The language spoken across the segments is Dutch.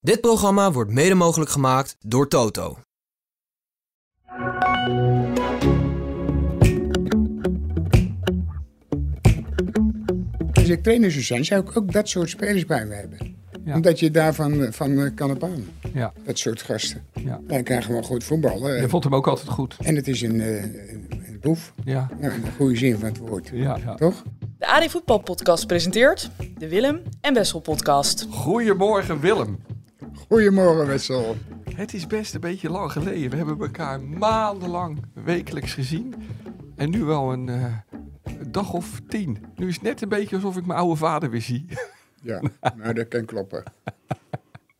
Dit programma wordt mede mogelijk gemaakt door Toto. Als Dus ik trainers zijn, zou ik ook dat soort spelers bij me hebben. Ja. Omdat je daarvan van eh, kan op aan. Ja, Dat soort gasten. ja. Wij krijgen gewoon goed voetballen. Je vond hem ook altijd goed. En het is een, eh, een een boef. Ja, Nou, in de goede zin van het woord. ja, ja. Toch? De AD Voetbal Podcast presenteert de Willem en Wessel Podcast. Goedemorgen Willem. Goedemorgen, Wessel. Het is best een beetje lang geleden. We hebben elkaar maandenlang wekelijks gezien. En nu wel een eh, dag of tien. Nu is het net een beetje alsof ik mijn oude vader weer zie. Ja, nou, dat kan kloppen.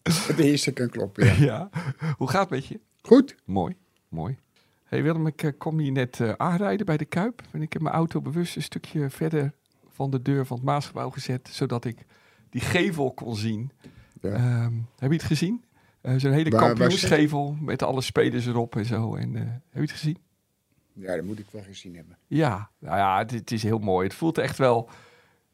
Het eerste kan kloppen, ja. ja. Hoe gaat het met je? Goed? Mooi, mooi. hey Willem, ik eh, kwam hier net eh, aanrijden bij de Kuip. En ik heb mijn auto bewust een stukje verder van de deur van het Maasgebouw gezet. Zodat ik die gevel kon zien. Ja. Ehm, heb je het gezien? Eh, Zo'n hele Waar- waar kampioensgevel met alle spelers erop en zo. En, eh, heb je het gezien? ja, dat moet ik wel gezien hebben. Ja, nou ja, het, het is heel mooi. Het voelt echt wel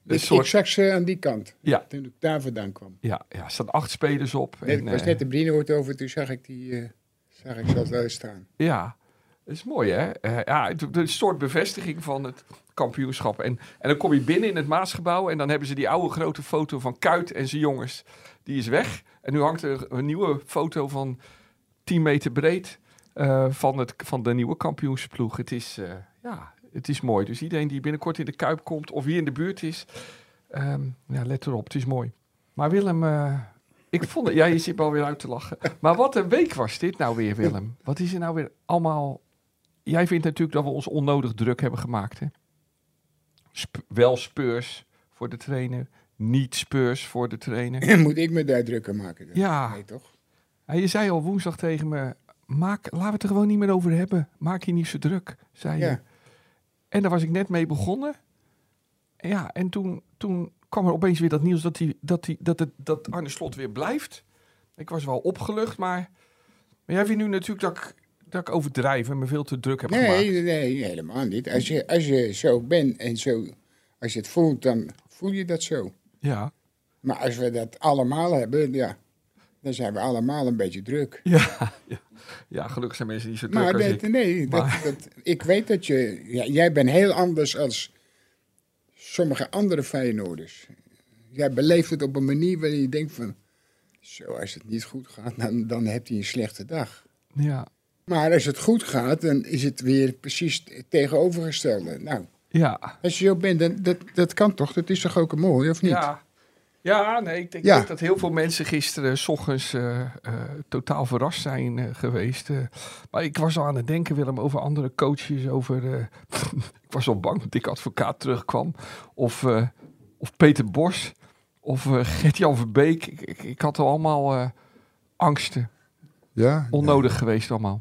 een Ik, soort... ik zag ze aan die kant. Ja. Toen ik daar vandaan kwam. Ja, ja, er staan acht spelers op. Net, en, ik was eh, net de Brinoort over, toen zag ik, die, eh, zag ik ze al daar staan. Ja, dat is mooi hè. Eh, ja, het, het is een soort bevestiging van het kampioenschap. En, en dan kom je binnen in het Maasgebouw en dan hebben ze die oude grote foto van Kuit en zijn jongens. Die is weg. En nu hangt er een nieuwe foto van 10 meter breed eh, van, het, van de nieuwe kampioensploeg. Het is, eh, ja, het is mooi. Dus iedereen die binnenkort in de Kuip komt of hier in de buurt is, ehm, ja, let erop. Het is mooi. Maar Willem, eh, ik vond het... Ja, je zit me alweer uit te lachen. Maar wat een week was dit nou weer, Willem. Wat is er nou weer allemaal... Jij vindt natuurlijk dat we ons onnodig druk hebben gemaakt, hè? Sp- wel speurs voor de trainer, niet speurs voor de trainer. Moet ik me daar drukker maken? dan? Ja. Nee, toch? Ja, je zei al woensdag tegen me, maak, laten we het er gewoon niet meer over hebben. Maak je niet zo druk, zei je. Ja. En daar was ik net mee begonnen. En Ja, en toen, toen kwam er opeens weer dat nieuws dat, die, dat, die, dat, het, dat Arne Slot weer blijft. Ik was wel opgelucht, maar, maar jij vindt nu natuurlijk dat ik, dat ik overdrijf en me veel te druk heb Nee, gemaakt. nee, nee, helemaal niet. Als je, als je zo bent en zo, als je het voelt, dan voel je dat zo. Ja. Maar als we dat allemaal hebben, ja, dan zijn we allemaal een beetje druk. Ja, ja. ja, gelukkig zijn mensen niet zo druk Maar als dat, ik. nee, dat, Maar- dat, ik weet dat je, ja, jij bent heel anders als sommige andere Feyenoorders. Jij beleeft het op een manier waarin je denkt van, zo, als het niet goed gaat, dan, dan heb je een slechte dag. Ja, Maar als het goed gaat, dan is het weer precies het tegenovergestelde. Nou, ja. Als je zo bent, dan, dat, dat kan toch? Dat is toch ook mooi, of niet? Ja. Ja, nee, ik denk, Ja. ik denk dat heel veel mensen gisteren, s ochtends, eh, eh, totaal verrast zijn eh, geweest. eh. maar ik was al aan het denken, Willem, over andere coaches. Over, eh, ik was al bang dat ik advocaat terugkwam. Of, eh, of Peter Bos. Of eh, Gert-Jan Verbeek. Ik, ik, ik had al allemaal eh, angsten. ja? Onnodig geweest allemaal.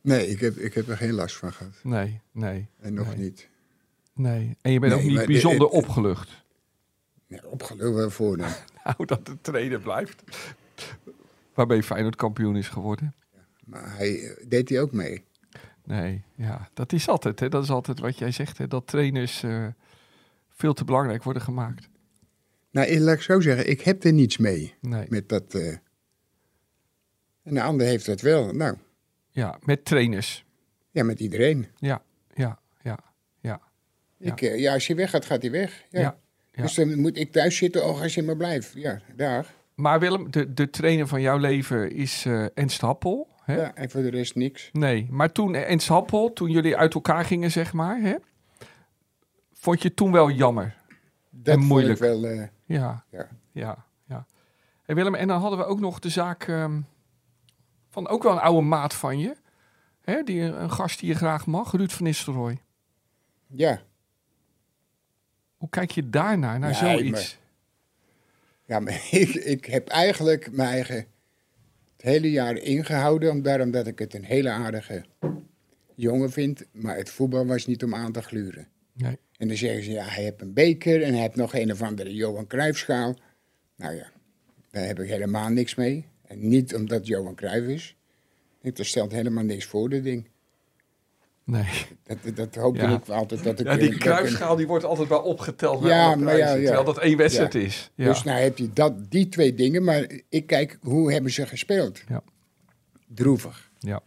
Nee, ik heb, ik heb er geen last van gehad. Nee, nee, En nog Nee. niet. nee. En je bent Nee, ook maar niet de- bijzonder het- het- opgelucht. Nee, opgelucht waarvoor dan? Nou, dat de trainer blijft. Waarmee Feyenoord kampioen is geworden. Maar hij eh, deed hij ook mee. Nee, ja, dat is altijd. Hè? Dat is altijd wat jij zegt, hè? dat trainers eh, veel te belangrijk worden gemaakt. Nou, eh, laat ik zo zeggen, ik heb er niets mee. Nee, Met dat... eh, En de ander heeft dat wel. Nou, ja, met trainers. ja, met iedereen. Ja, ja, ja, ja. Ja. Ik, eh, ja, als hij weggaat, gaat hij weg. Ja. ja. ja. Dus dan moet ik thuis zitten, oh, als je maar blijft. Ja, daar. Maar Willem, de, de trainer van jouw leven is eh Ernst Happel. Hè? Ja, en voor de rest niks. Nee, maar toen eh, Ernst Happel, toen jullie uit elkaar gingen, zeg maar, hè? vond je het toen wel jammer. Dat vond moeilijk. ik wel... eh, Ja, Ja. ja, ja. Hey Willem, en dan hadden we ook nog de zaak ehm, van ook wel een oude maat van je. Hè, die, een gast die je graag mag, Ruud van Nistelrooy. ja. Hoe kijk je daarnaar, naar Nee, zoiets? Ja, maar ik, ik heb eigenlijk mijn eigen het hele jaar ingehouden, om- daarom dat ik het een hele aardige jongen vind. Maar het voetbal was niet om aan te gluren. Nee. En dan zeggen ze, ja, hij heeft een beker en hij heeft nog een of andere Johan Cruijffschaal. Nou ja, daar heb ik helemaal niks mee. En niet omdat Johan Cruijff is. Ik, dat stelt helemaal niks voor, dat ding. Nee. Dat, dat, dat hoopte Ja. ik altijd. Dat ik Ja, die dat ik- kruisschaal die wordt altijd wel opgeteld. Ja, Ja, maar ja, ja. Terwijl dat één wedstrijd Ja. is. Ja. Dus nou heb je dat, die twee dingen, maar ik kijk hoe hebben ze gespeeld. Ja. Droevig. ja.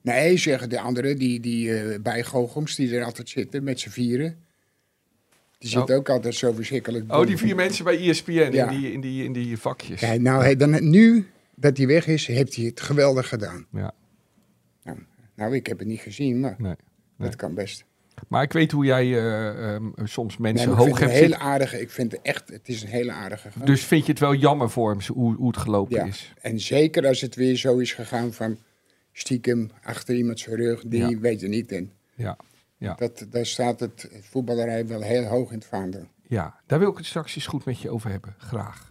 Nee, zeggen de anderen, die, die eh bij Goochems, die er altijd zitten met z'n vieren. Die Oh. zitten ook altijd zo verschrikkelijk Oh, dom. die vier mensen bij ESPN Ja. in, die, in, die, in die vakjes. Ja, nou, hij, dan, nu dat hij weg is, heeft hij het geweldig gedaan. Ja, Nou, ik heb het niet gezien, maar nee. dat kan best. Maar ik weet hoe jij eh, ehm, soms Nee, mensen maar ik hoog vind het hebt een hele zitten. aardige, ik vind het echt, het is een hele aardige gang. Dus vind je het wel jammer voor hem zo- hoe, hoe het gelopen Ja. is? En zeker als het weer zo is gegaan van stiekem achter iemand zijn rug, die Ja. weet je niet. En Ja. Ja. dat, daar staat het voetballerij wel heel hoog in het vaandel. ja, daar wil ik het straks eens goed met je over hebben. Graag.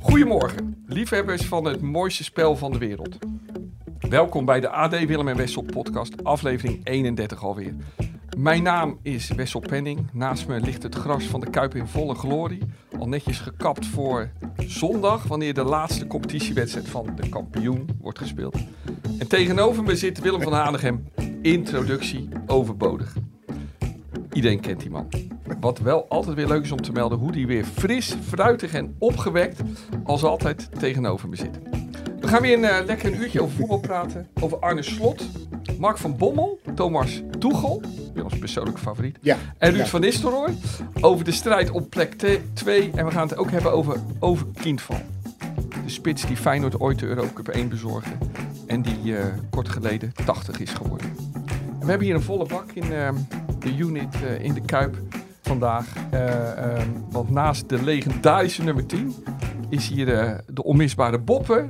Goedemorgen, liefhebbers van het mooiste spel van de wereld. Welkom bij de AD Willem en Wessel podcast, aflevering 31 alweer. Mijn naam is Wessel Penning. Naast me ligt het gras van de Kuip in volle glorie. Al netjes gekapt voor zondag, wanneer de laatste competitiewedstrijd van de kampioen wordt gespeeld. En tegenover me zit Willem van Hanegem. Introductie overbodig. Iedereen kent die man. Wat wel altijd weer leuk is om te melden, hoe die weer fris, fruitig en opgewekt als altijd tegenover me zit. We gaan weer een, eh, lekker een uurtje over voetbal praten. Over Arne Slot, Mark van Bommel, Thomas Toegel, Willem's persoonlijke favoriet. Ja, En Ruud ja. van Nistelrooy over de strijd op plek 2. En we gaan het ook hebben over over Kindval. De spits die Feyenoord ooit de Eurocup 1 bezorgde. En die eh, kort geleden 80 is geworden. En we hebben hier een volle bak in ehm, de unit eh, in de Kuip vandaag. Eh, ehm, want naast de legendarische nummer 10 is hier eh, de onmisbare Bopper.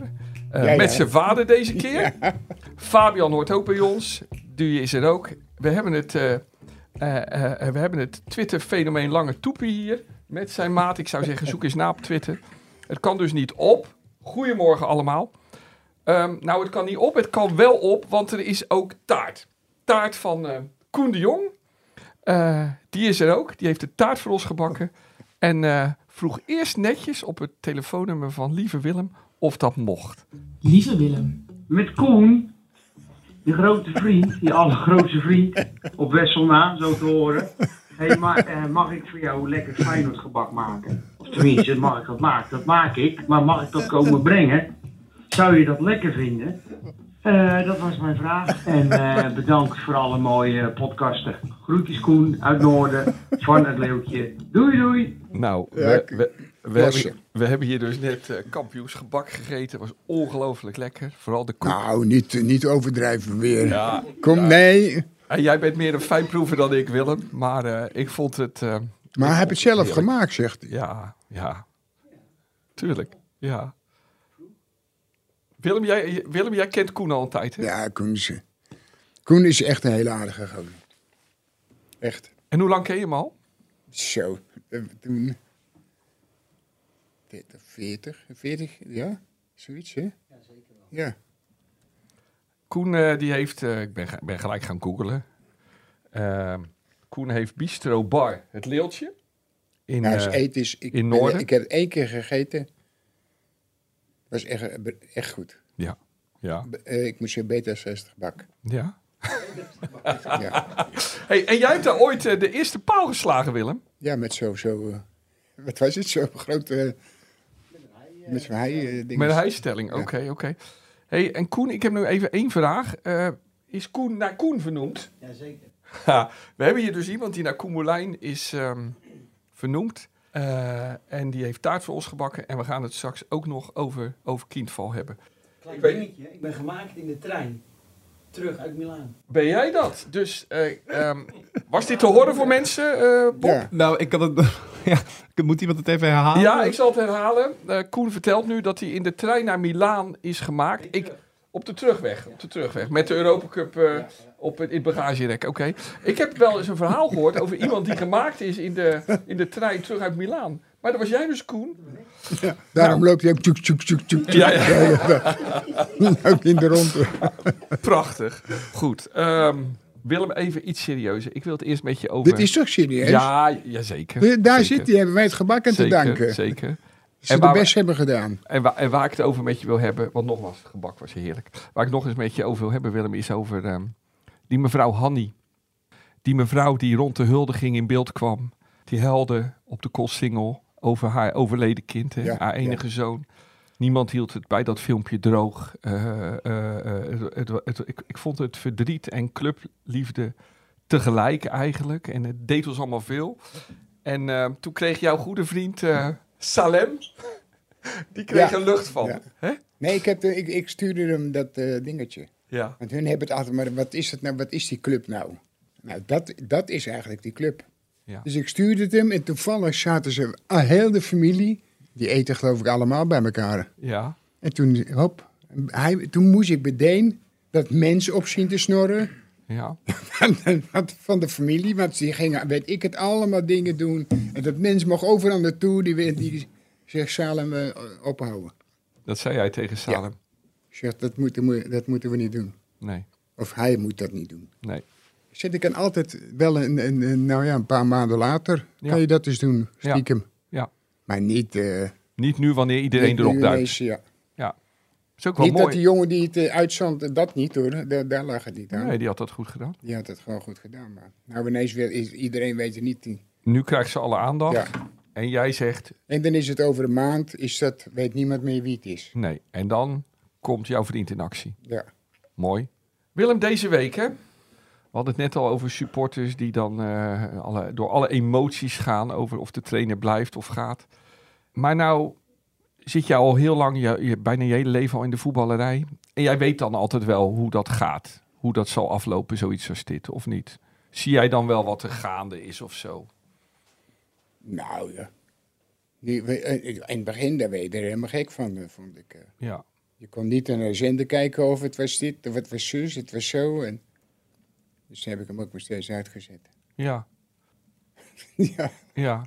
eh, Ja, ja. Met zijn vader deze keer. Fabian hoort ook bij ons. Die is er ook. We hebben het, eh, eh, eh, we hebben het Twitter-fenomeen Lange Toepie hier. Met zijn maat. Ik zou zeggen, zoek eens na op Twitter. Het kan dus niet op. Goedemorgen allemaal. Ehm, nou, het kan niet op. Het kan wel op, want er is ook taart. Taart van eh, Koen de Jong. Eh, die is er ook. Die heeft de taart voor ons gebakken. En eh, vroeg eerst netjes op het telefoonnummer van Lieve Willem of dat mocht. Lieve Willem. Met Koen, je grote vriend, je allergrootste vriend, op Wessel na, zo te horen. hey, maar eh, mag ik voor jou lekker Feyenoord gebak maken? Of tenminste, mag ik dat maken? Dat maak ik, maar mag ik dat komen brengen? Zou je dat lekker vinden? Eh, dat was mijn vraag. En eh, bedankt voor alle mooie podcasten. Groetjes Koen uit Noorden, van het Leeuwtje. Doei doei! Nou, Ja, we, ik- we, we, klasse. hebben, we hebben hier dus net eh kampioensgebak gegeten. was ongelooflijk lekker. Vooral de koek. Nou, niet, niet overdrijven weer. Ja, Kom, nee. en jij bent meer een fijnproever dan ik, Willem. Maar eh, ik vond het... eh, Maar hij heeft het zelf gemaakt, zegt hij. Ja, ja. Tuurlijk, ja. Willem, jij, Willem, jij kent Koen al een tijd, hè? Ja, Koen is, Koen is echt een hele aardige gozer. Echt. En hoe lang ken je hem al? Zo. eh, Toen... 30, 40, 40, ja? Zoiets, hè? Ja, zeker wel. Ja. Koen, eh, die heeft... eh, ik ben, ge- ben gelijk gaan googlen. Ehm, Koen heeft Bistro Bar, het leeltje. In, Nou, het eh, eten is... Ik, in ben- Noorden? ik heb het één keer gegeten. was echt, echt goed. ja, ja, B- eh, ik moest een beta 60 bak. ja. Ja, Hey, en jij hebt daar ooit eh, de eerste paal geslagen, Willem. ja met zo... zo eh, wat was het? Zo'n grote... met zo'n hei... eh, dinges. Met een hijstelling, oké, oké. Hey, en Koen, ik heb nu even één vraag. Eh, is Koen naar Koen vernoemd? Jazeker. Ha, we hebben hier dus iemand die naar Koen Moulijn is ehm, vernoemd. Eh, en die heeft taart voor ons gebakken. En we gaan het straks ook nog over, over kindval hebben. Klein Ik weet- dingetje, ik ben gemaakt in de trein. Terug uit Milaan. Ben jij dat? Dus eh, ehm, was dit te horen voor mensen, eh, Bob? Ja. Nou, ik kan het. Ja, moet iemand het even herhalen? Ja, ik zal het herhalen. Eh, Koen vertelt nu dat hij in de trein naar Milaan is gemaakt. Ik, op de terugweg, op de terugweg. Met de Europacup eh, op het, in het bagagerek, oké. Ik heb wel eens een verhaal gehoord over iemand die gemaakt is in de, in de trein terug uit Milaan. Maar dat was jij dus, Koen? Daarom loopt hij ook tjoek, tjoek, tjoek, tjoek, tjoek. Ja, ja. ook in de ronde. Prachtig. Goed. Ehm, Willem, even iets serieuzer. Ik wil het eerst met je over... Dit is toch serieus? Ja, jazeker. Eh, Daar Zeker. zit hij, hebben wij het gebak aan te Zeker, danken. Zeker. ze En de waar we- best hebben gedaan. En, wa- en waar ik het over met je wil hebben, want nogmaals, het gebak was heerlijk. Waar ik nog eens met je over wil hebben, Willem, is over ehm, die mevrouw Hanni. Die mevrouw die rond de huldiging in beeld kwam. Die helde op de kostsingel over haar overleden kind, hè, Ja, haar enige zoon. Niemand hield het bij dat filmpje droog. Eh, eh, eh, het- het- het- ik, ik vond het verdriet en clubliefde tegelijk eigenlijk. En het deed ons allemaal veel. En eh, toen kreeg jouw goede vriend eh, Salem, die kreeg Ja. een lucht van. Ja. Hè? Nee, ik, heb de- ik, ik stuurde hem dat eh, dingetje. ja. Want hun hebben het altijd maar, wat is, dat nou, wat is die club nou? Nou, dat, dat is eigenlijk die club. Ja. Dus ik stuurde het hem en toevallig zaten ze, ah, heel de familie, die eten geloof ik allemaal bij elkaar. Ja, En toen, hop, hij, toen moest ik meteen dat mens op zien te snorren ja, van de, van de familie. Want die gingen, weet ik het, allemaal dingen doen. En dat mens mocht overal naartoe, die, werd- die zegt Salem eh, ophouden. dat zei jij tegen Salem. Zegt, dat moeten, we- dat moeten we niet doen. Nee, Of hij moet dat niet doen. nee. Ik zeg, ik kan altijd wel een, een, een- nou ja, een paar maanden later, Ja. kan je dat eens doen, stiekem. Ja. Maar niet... eh Niet nu wanneer iedereen niet erop nu duikt. ineens, ja. Is ook wel Niet dat mooi. die jongen die het eh, uitzond, dat niet hoor, daar, daar lag het niet aan. Nee, die had dat goed gedaan. Die had het gewoon goed gedaan. Maar nou ineens weer, is- iedereen weet het niet. Die, Nu krijgt ze alle aandacht. ja. En jij zegt En dan is het over een maand, is dat, weet niemand meer wie het is. nee. En dan komt jouw vriend in actie. Ja. Mooi. Willem, deze week hè? We hadden het net al over supporters die dan eh, alle, door alle emoties gaan over of de trainer blijft of gaat. Maar nou zit jij al heel lang, je, je, bijna je hele leven al in de voetballerij. En jij weet dan altijd wel hoe dat gaat. Hoe dat zal aflopen, zoiets als dit, of niet? Zie jij dan wel wat er gaande is of zo? Nou ja. Die, we- eh, in het begin, daar weet je er helemaal gek van, eh, vond ik. eh. Ja, Je kon niet naar de zender kijken of het was dit, of het was zus, het was zo. En... Dus heb ik hem ook maar steeds uitgezet. ja, ja. ja.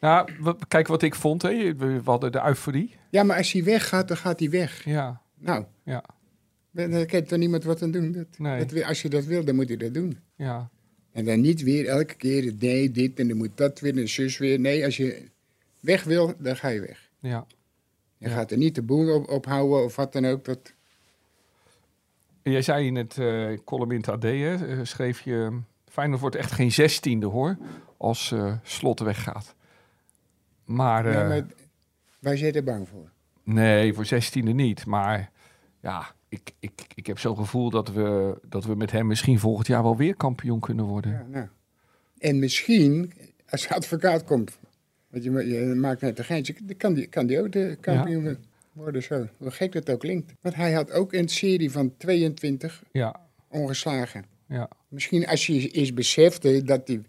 Nou, w- kijk wat ik vond. Hè. We, we hadden de euforie. ja, maar als hij weggaat, dan gaat hij weg. Ja, Nou, ja, dan dan kan er niemand wat aan doen. Dat, Nee. dat wil- als je dat wil, dan moet hij dat doen. ja. En dan niet weer elke keer, nee, dit en dan moet dat weer en zus weer. Nee, als je weg wil, dan ga je weg. ja. Je gaat er niet de boel op, ophouden of wat dan ook. Dat, En Jij zei in het eh column in het AD, hè, eh, schreef je... Feyenoord wordt echt geen zestiende, hoor, als eh, Slot weggaat. Maar, Ja, Nou, eh, maar waar zit er bang voor? nee, voor zestiende niet. Maar ja, ik, ik, ik heb zo'n gevoel dat we, dat we met hem misschien volgend jaar wel weer kampioen kunnen worden. Ja, nou. En misschien, als de advocaat komt, want je, ma- je maakt net een geintje, dan kan die, kan die ook de kampioen worden zo. Hoe gek dat ook klinkt. Want hij had ook een serie van 22 Ja, ongeslagen. ja, Misschien als je eens besefte dat hij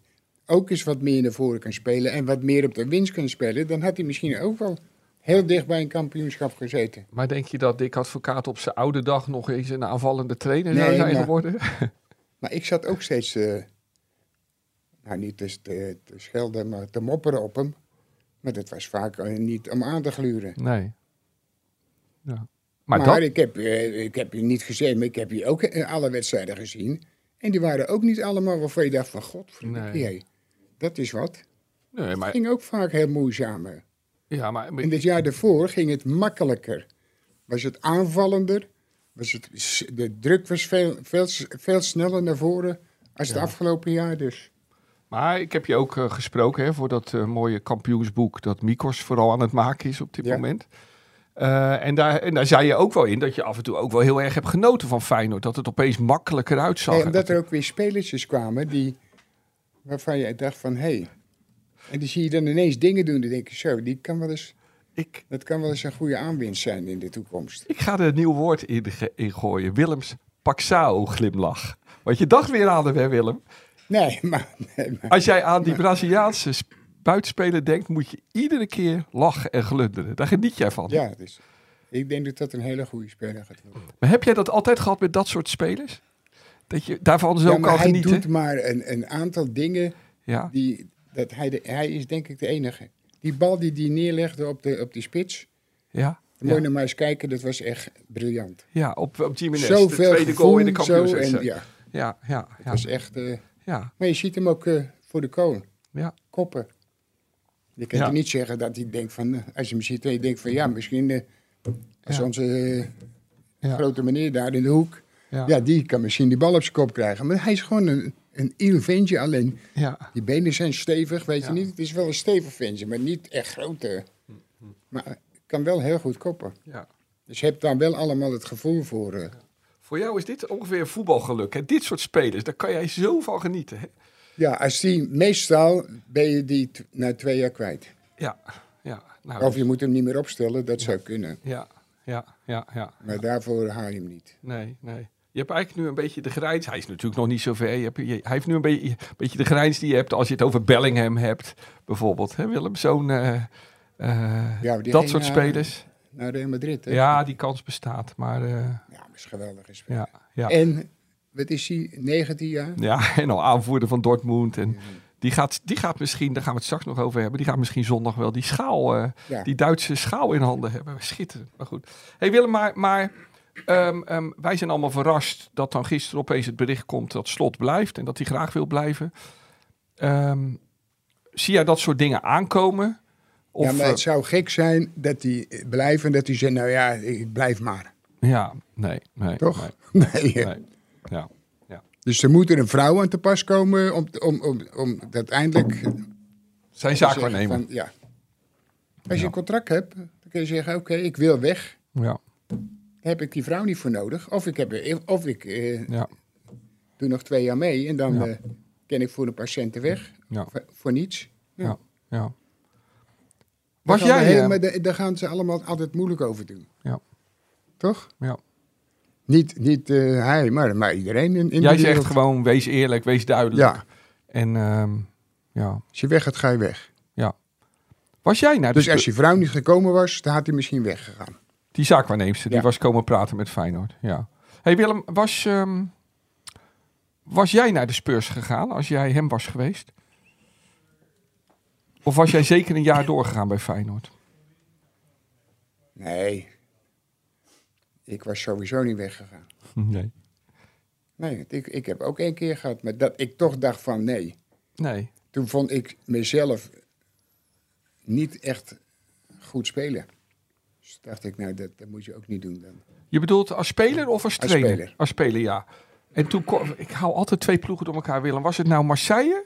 ook eens wat meer naar voren kan spelen en wat meer op de winst kan spelen, dan had hij misschien ook wel heel dicht bij een kampioenschap gezeten. Maar denk je dat Dick Advocaat op zijn oude dag nog eens een aanvallende trainer zou Nee, zijn maar- geworden? Maar ik zat ook steeds, eh, nou niet te, te, te schelden, maar te mopperen op hem. Maar dat was vaak eh, niet om aan te gluren. Nee. Ja. Maar, Maar, dat, ik, heb, eh, ik heb je niet gezien, maar ik heb je ook eh, alle wedstrijden gezien. En die waren ook niet allemaal waarvan je dacht van, god, Nee. dat is wat. nee, maar, Ging ook vaak heel moeizamer. ja, maar, En het jaar daarvoor ging het makkelijker. Was het aanvallender. Was het, s- de druk was veel, veel, s- veel sneller naar voren als het afgelopen jaar dus. Maar ik heb je ook eh, gesproken hè, voor dat eh, mooie kampioensboek dat Mikos vooral aan het maken is op dit Ja. moment. Eh, en, daar, en daar zei je ook wel in dat je af en toe ook wel heel erg hebt genoten van Feyenoord. Dat het opeens makkelijker uitzag. En En omdat er ook weer spelertjes kwamen die, waarvan je dacht van, hé. Hey. En die zie je dan ineens dingen doen. Dan denk je, zo, die kan wel eens, ik, dat kan wel eens een goede aanwinst zijn in de toekomst. ik ga er een nieuw woord in, ge- in gooien. Willems Paxao glimlach. Want je dacht weer aan hem, hè Willem? Nee, maar... Nee, maar- Als jij aan die Braziliaanse sp- buitenspeler denkt, moet je iedere keer lachen en glunderen. Daar geniet jij van. ja, dus, ik denk dat dat een hele goede speler gaat worden. Maar heb jij dat altijd gehad met dat soort spelers? Dat je daarvan zo ja, maar kan hij genieten? doet maar een, een aantal dingen... Ja. Die, dat hij, de, hij is denk ik de enige. Die bal die hij neerlegde op, de, op die spits. Ja. Moet je Ja. nou maar eens kijken, dat was echt briljant. Ja, op, op Jiménez. de Zoveel tweede goal in de gevoel, zo kampioenschap. en Ja, ja, ja, ja, ja, was echt. eh, ja, maar je ziet hem ook eh, voor de kool, ja, koppen. Je kan Ja. toch niet zeggen dat hij denkt van, eh, als je hem ziet, dat je denkt van ja, misschien eh, als Ja. onze eh, Ja. grote meneer daar in de hoek, Ja. ja, die kan misschien die bal op zijn kop krijgen. Maar hij is gewoon een, een iel ventje, alleen Ja. die benen zijn stevig, weet Ja. je niet. Het is wel een stevig ventje, maar niet echt grote. Maar kan wel heel goed koppen. ja. Dus je hebt daar wel allemaal het gevoel voor. eh. Voor jou is dit ongeveer voetbalgeluk. Hè? Dit soort spelers, daar kan jij zo van genieten. Hè? Ja, als die, meestal ben je die t- na twee jaar kwijt. Ja, ja, nou, Of je moet hem niet meer opstellen, dat zou kunnen. ja, ja, ja, ja. Maar daarvoor haal je hem niet. Nee, nee. Je hebt eigenlijk nu een beetje de grijns. Hij is natuurlijk nog niet zo ver. Je hebt, je- hij heeft nu een beetje, een beetje de grijns die je hebt als je het over Bellingham hebt. Bijvoorbeeld, hè Willem? Zo'n... eh, eh, Ja, maar die dat ging soort naar- spelers. Naar Real Madrid, hè? Ja, die kans bestaat. Maar eh, Ja, maar is geweldig is. ja, ja. En, wat is hij, 19 jaar? Ja, en al aanvoerder van Dortmund. Mhm. En die, gaat, die gaat misschien, daar gaan we het straks nog over hebben, die gaat misschien zondag wel die schaal, eh, Ja. die Duitse schaal in handen hebben. Schitterend, maar goed. hey Willem, maar, maar ehm, ehm, wij zijn allemaal verrast dat dan gisteren opeens het bericht komt dat Slot blijft en dat hij graag wil blijven. Ehm, zie jij dat soort dingen aankomen? Of, ja, maar het eh, zou gek zijn dat hij eh, blijft en dat hij zegt, nou ja, ik blijf maar. ja, nee, nee. Toch? Nee, Nee. eh. nee. Ja, Dus er moet er een vrouw aan te pas komen om, te- om, om, om uiteindelijk... zijn zaak zaakwaarnemer. ja. Als je een contract hebt, dan kun je zeggen, oké, ik wil weg. Ja, Daar heb ik die vrouw niet voor nodig. Of ik, heb, of ik eh, ja, doe nog twee jaar mee en dan Ja. eh, ken ik voor de patiënten weg. ja, Voor, voor niets. ja. ja. Daar Was gaan we jij... eh, helemaal- daar- daar gaan ze allemaal altijd moeilijk over doen. Ja. Toch? Ja. Niet, niet eh, hij, maar, maar iedereen in, in Jij de wereld. zegt gewoon, wees eerlijk, wees duidelijk. Ja, En ehm, ja, als je weg gaat, ga je weg. was jij nou Dus de- als je vrouw niet gekomen was, dan had hij misschien weggegaan. die zaakwaarneemster, die Ja. was komen praten met Feyenoord. Ja. hey Willem, was, ehm, was jij naar de Spurs gegaan als jij hem was geweest? Of was jij zeker een jaar doorgegaan bij Feyenoord? Nee. Ik was sowieso niet weggegaan. Nee. Nee, want ik, ik heb ook één keer gehad, maar dat ik toch dacht van nee. Nee. Toen vond ik mezelf niet echt goed spelen. Dus dacht ik, nou, dat, dat moet je ook niet doen dan. Je bedoelt als speler of als Als trainer? speler. Als speler, ja. En toen kwam, ik hou altijd twee ploegen door elkaar, Willem. Was het nou Marseille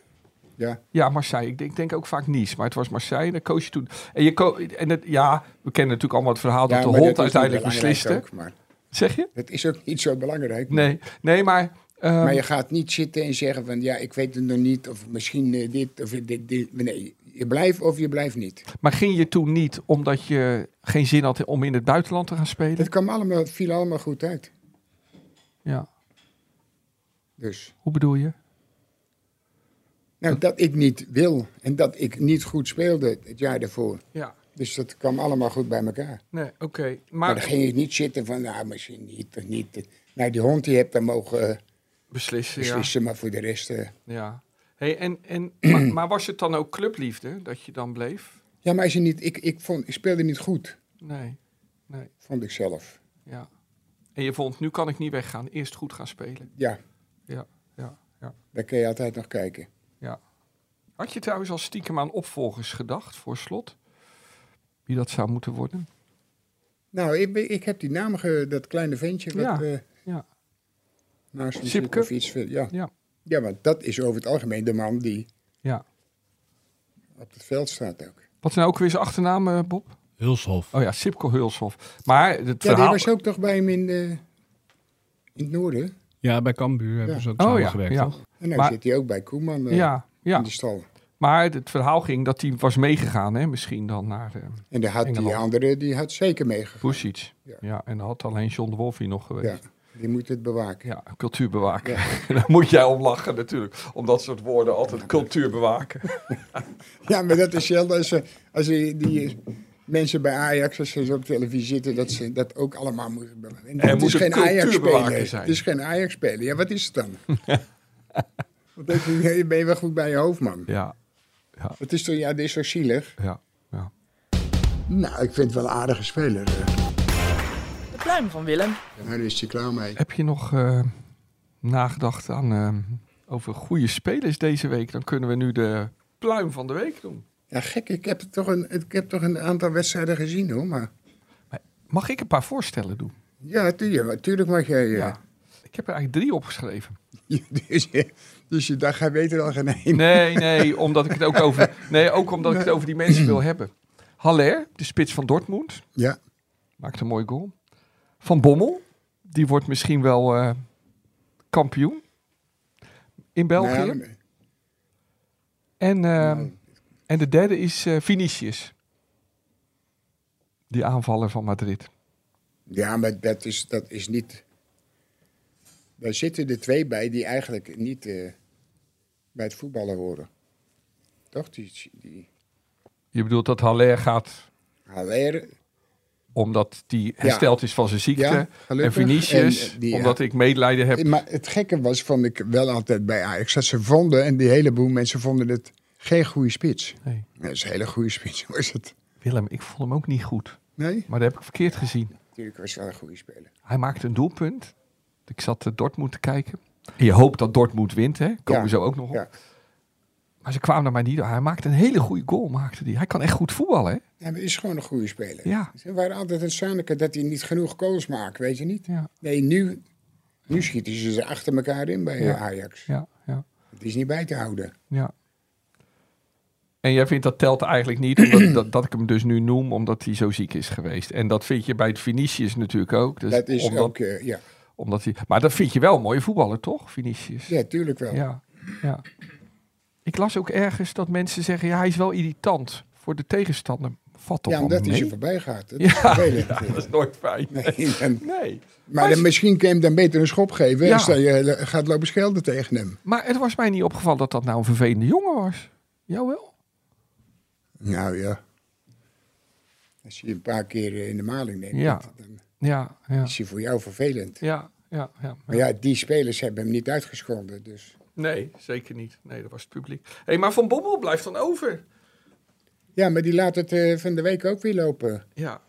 Ja, Ja, Marseille. Ik denk, ik denk ook vaak Nice, maar het was Marseille. Dan coach je toen. En, je ko- en het, ja, we kennen natuurlijk allemaal het verhaal ja dat de maar hond is niet uiteindelijk belangrijk besliste. Ook, maar Zeg je? dat is ook niet zo belangrijk. Nee, nee, maar. ehm, Maar je gaat niet zitten en zeggen van ja, ik weet het nog niet, of misschien eh, dit, of dit, dit. Nee, je blijft of je blijft niet. maar ging je toen niet omdat je geen zin had om in het buitenland te gaan spelen? Dat kwam allemaal, viel allemaal goed uit. Ja. Dus, Hoe bedoel je? nou, dat ik niet wil en dat ik niet goed speelde het jaar daarvoor. Ja. Dus dat kwam allemaal goed bij elkaar. Nee, oké. Maar Maar, dan ging ik niet zitten van, nou, misschien niet, of niet. Nou, die hond die hebt dan mogen eh, beslissen. beslissen, maar voor de rest... eh. Ja. ja. Hey, en, en, maar, maar was het dan ook clubliefde dat je dan bleef? Ja, maar als je niet, ik, ik, vond, ik speelde niet goed, Nee. Nee. vond ik zelf. Ja. En je vond, nu kan ik niet weggaan. Eerst goed gaan spelen. Ja, Ja. Ja. Ja. daar kun je altijd nog kijken. Ja. Had je trouwens al stiekem aan opvolgers gedacht voor slot? Wie dat zou moeten worden? Nou, ik, ben- ik heb die naam, ge, dat kleine ventje, wat, Ja, eh, ja. naast me zit Sipke? of iets. eh, Ja. Ja. ja, want dat is over het algemeen de man die Ja. op het veld staat ook. Wat is nou ook weer zijn achternaam, eh, Bob? Hulshof. Oh ja, Sipko Hulshof. Maar het Ja, die verhaal... was ook toch bij hem in, de, in het noorden? Ja, bij Cambuur hebben ze ook Oh samen ja, gewerkt, ja. toch? En nou Maar- zit hij ook bij Koeman eh, ja, ja. in de stal. Maar het verhaal ging dat hij was meegegaan, hè? misschien dan naar eh En daar had die Engeland. andere, die had zeker meegegaan. Pusic. Ja. Ja. en dan had alleen John de Wolf hier nog geweest. Ja, die moet het bewaken. Ja, cultuur bewaken. Daar moet jij om lachen natuurlijk. Om dat soort woorden altijd cultuur bewaken. Ja, maar dat is zelden als, eh, als die, die mensen bij Ajax, als ze op televisie zitten, dat ze dat ook allemaal moeten bewaken. En het moet is een geen Ajax-speler. cultuurbewaker zijn. Het is geen Ajax-speler. Ja, wat is het dan? Want dan denk je, ben je wel goed bij je hoofd, man. Ja, Het is toch, ja, dit is zo zielig. ja, ja. Nou, ik vind het wel een aardige speler. eh. De pluim van Willem. Nou, daar is hij klaar mee. Heb je nog eh, nagedacht aan, eh, over goede spelers deze week? Dan kunnen we nu de pluim van de week doen. Ja, gek. Ik heb toch een, ik heb toch een aantal wedstrijden gezien hoor. Maar Mag ik een paar voorstellen doen? ja, tuurlijk, tuurlijk mag jij. eh, Ik heb er eigenlijk drie opgeschreven. dus, je, dus je daar gaat beter dan geen heen. Nee, nee, omdat ik het ook over, nee, ook omdat ik het over die mensen wil hebben. Haller, de spits van Dortmund, Ja, maakt een mooie goal. Van Bommel, die wordt misschien wel eh, kampioen in België. Nou ja, En, ehm, en de derde is eh Vinicius. Die aanvaller van Madrid. ja, maar dat is, dat is niet. Daar zitten er twee bij die eigenlijk niet eh, bij het voetballen horen. Toch? Die, die Je bedoelt dat Haller gaat Haller, omdat hij hersteld is van zijn ziekte. Ja, en gelukkig. Vinicius, En eh, die, omdat ik medelijden heb. Eh, Maar het gekke was, vond ik wel altijd bij Ajax, dat ze vonden, en die heleboel mensen vonden het geen goede spits. Nee. Dat is een hele goede spits, was het? Willem, ik vond hem ook niet goed. Nee? Maar dat heb ik verkeerd gezien. Natuurlijk was het wel een goede speler. Hij maakte een doelpunt. Ik zat eh, Dortmund te kijken. En je hoopt dat Dortmund wint, hè? Komen Ja, we zo ook nog op. Ja. Maar ze kwamen naar mij niet door. Hij maakte een hele goede goal. Maakte die. Hij kan echt goed voetballen, hè? Ja, maar hij is gewoon een goede speler. Ja. Ze waren altijd een Sanneke dat hij niet genoeg goals maakt, weet je niet? Ja, Nee, nu, nu schieten ze ze achter elkaar in bij Ja. eh, Ajax. ja, ja. Het is niet bij te houden. Ja. En jij vindt dat telt eigenlijk niet, omdat dat, dat ik hem dus nu noem, omdat hij zo ziek is geweest. En dat vind je bij het Vinicius natuurlijk ook. Dus dat is omdat, ook, eh, ja. Omdat hij, maar dat vind je wel een mooie voetballer, toch, Vinicius? ja, tuurlijk wel. ja, ja. Ik las ook ergens dat mensen zeggen, ja, hij is wel irritant voor de tegenstander. Vat toch Ja, wel omdat hij mee? ze voorbij gaat. Dat Ja, is vervelend. ja, dat is nooit fijn. Nee, dan- Nee. maar dan, misschien kun je hem dan beter een schop geven Ja. en stel je eh, gaat lopen schelden tegen hem. Maar het was mij niet opgevallen dat dat nou een vervelende jongen was. Jou wel? Nou ja. Als je je een paar keer eh, in de maling neemt, Ja. dat- dan Ja, ja, is hij voor jou vervelend. ja, ja. ja. Maar ja, die spelers hebben hem niet uitgescholden. Dus. Nee, zeker niet. Nee, dat was het publiek. Hé, maar Van Bommel blijft dan over. Ja, maar die laat het eh, van de week ook weer lopen. Ja,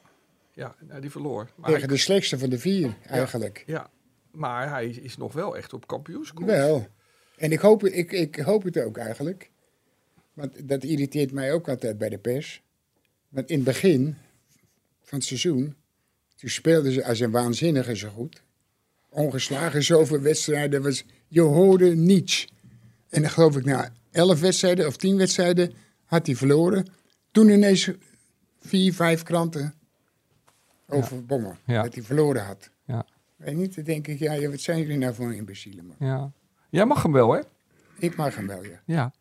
ja nou, die verloor. Maar tegen hij, de slechtste van de vier, eigenlijk. ja, maar hij is nog wel echt op kampioenskoers. Wel. En ik hoop, ik, ik hoop het ook eigenlijk. Want dat irriteert mij ook altijd bij de pers. Want in het begin van het seizoen, toen speelden ze als een waanzinnige zo goed. Ongeslagen zoveel wedstrijden, was, je hoorde niets. En dan geloof ik na elf wedstrijden of tien wedstrijden had hij verloren. Toen ineens vier, vijf kranten over Bommer, Ja. dat hij verloren had. Ja. En niet, dan denk ik, ja, wat zijn jullie nou voor imbecielen, man? Ja. Jij mag hem wel, hè? Ik mag hem wel, ja. Ja.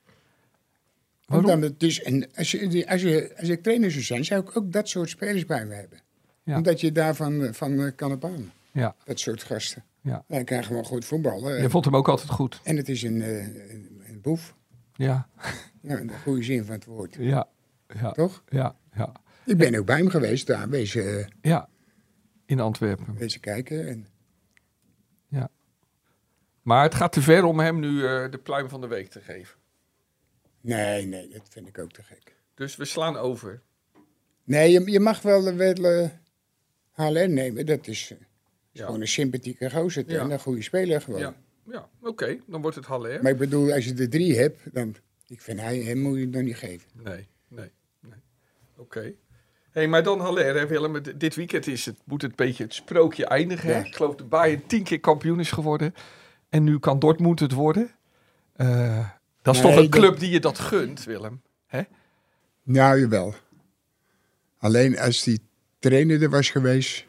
Waarom? Omdat het dus, en als, je, die- als, je, als ik trainer zou zijn, zou ik ook dat soort spelers bij me hebben. Ja. Omdat je daarvan eh, van eh, kan op aan. Ja, Dat soort gasten. ja. Wij krijgen gewoon goed voetballen. eh. Je vond hem ook altijd goed. En het is een, eh, een, een boef. Ja, Ja, in de goede zin van het woord. ja, ja, Toch? ja, ja. Ik ben ook bij hem geweest, daar wezen, eh, ja. In Antwerpen. wezen kijken. En, Maar het gaat te ver om hem nu eh, de pluim van de week te geven. nee, nee, dat vind ik ook te gek. Dus we slaan over. Nee, je, je mag wel, eh, wel eh, HLN nemen. Dat is eh, gewoon Ja, een sympathieke gozer Ja. en een goede speler gewoon. ja. ja. oké. Dan wordt het Haller. Maar ik bedoel, als je er drie hebt, dan... Ik vind, hij, hem moet je het nog niet geven. Nee, nee, nee. Oké. hey, maar dan Haller, hè, Willem. Het- Dit weekend is het, moet het beetje het sprookje eindigen. Hè? Ja. Ik geloof dat Bayern tien keer kampioen is geworden. En nu kan Dortmund het worden. Eh, dat is Nee, toch een dat- club die je dat gunt, Willem? Nou, jawel. Alleen als die trainer er was geweest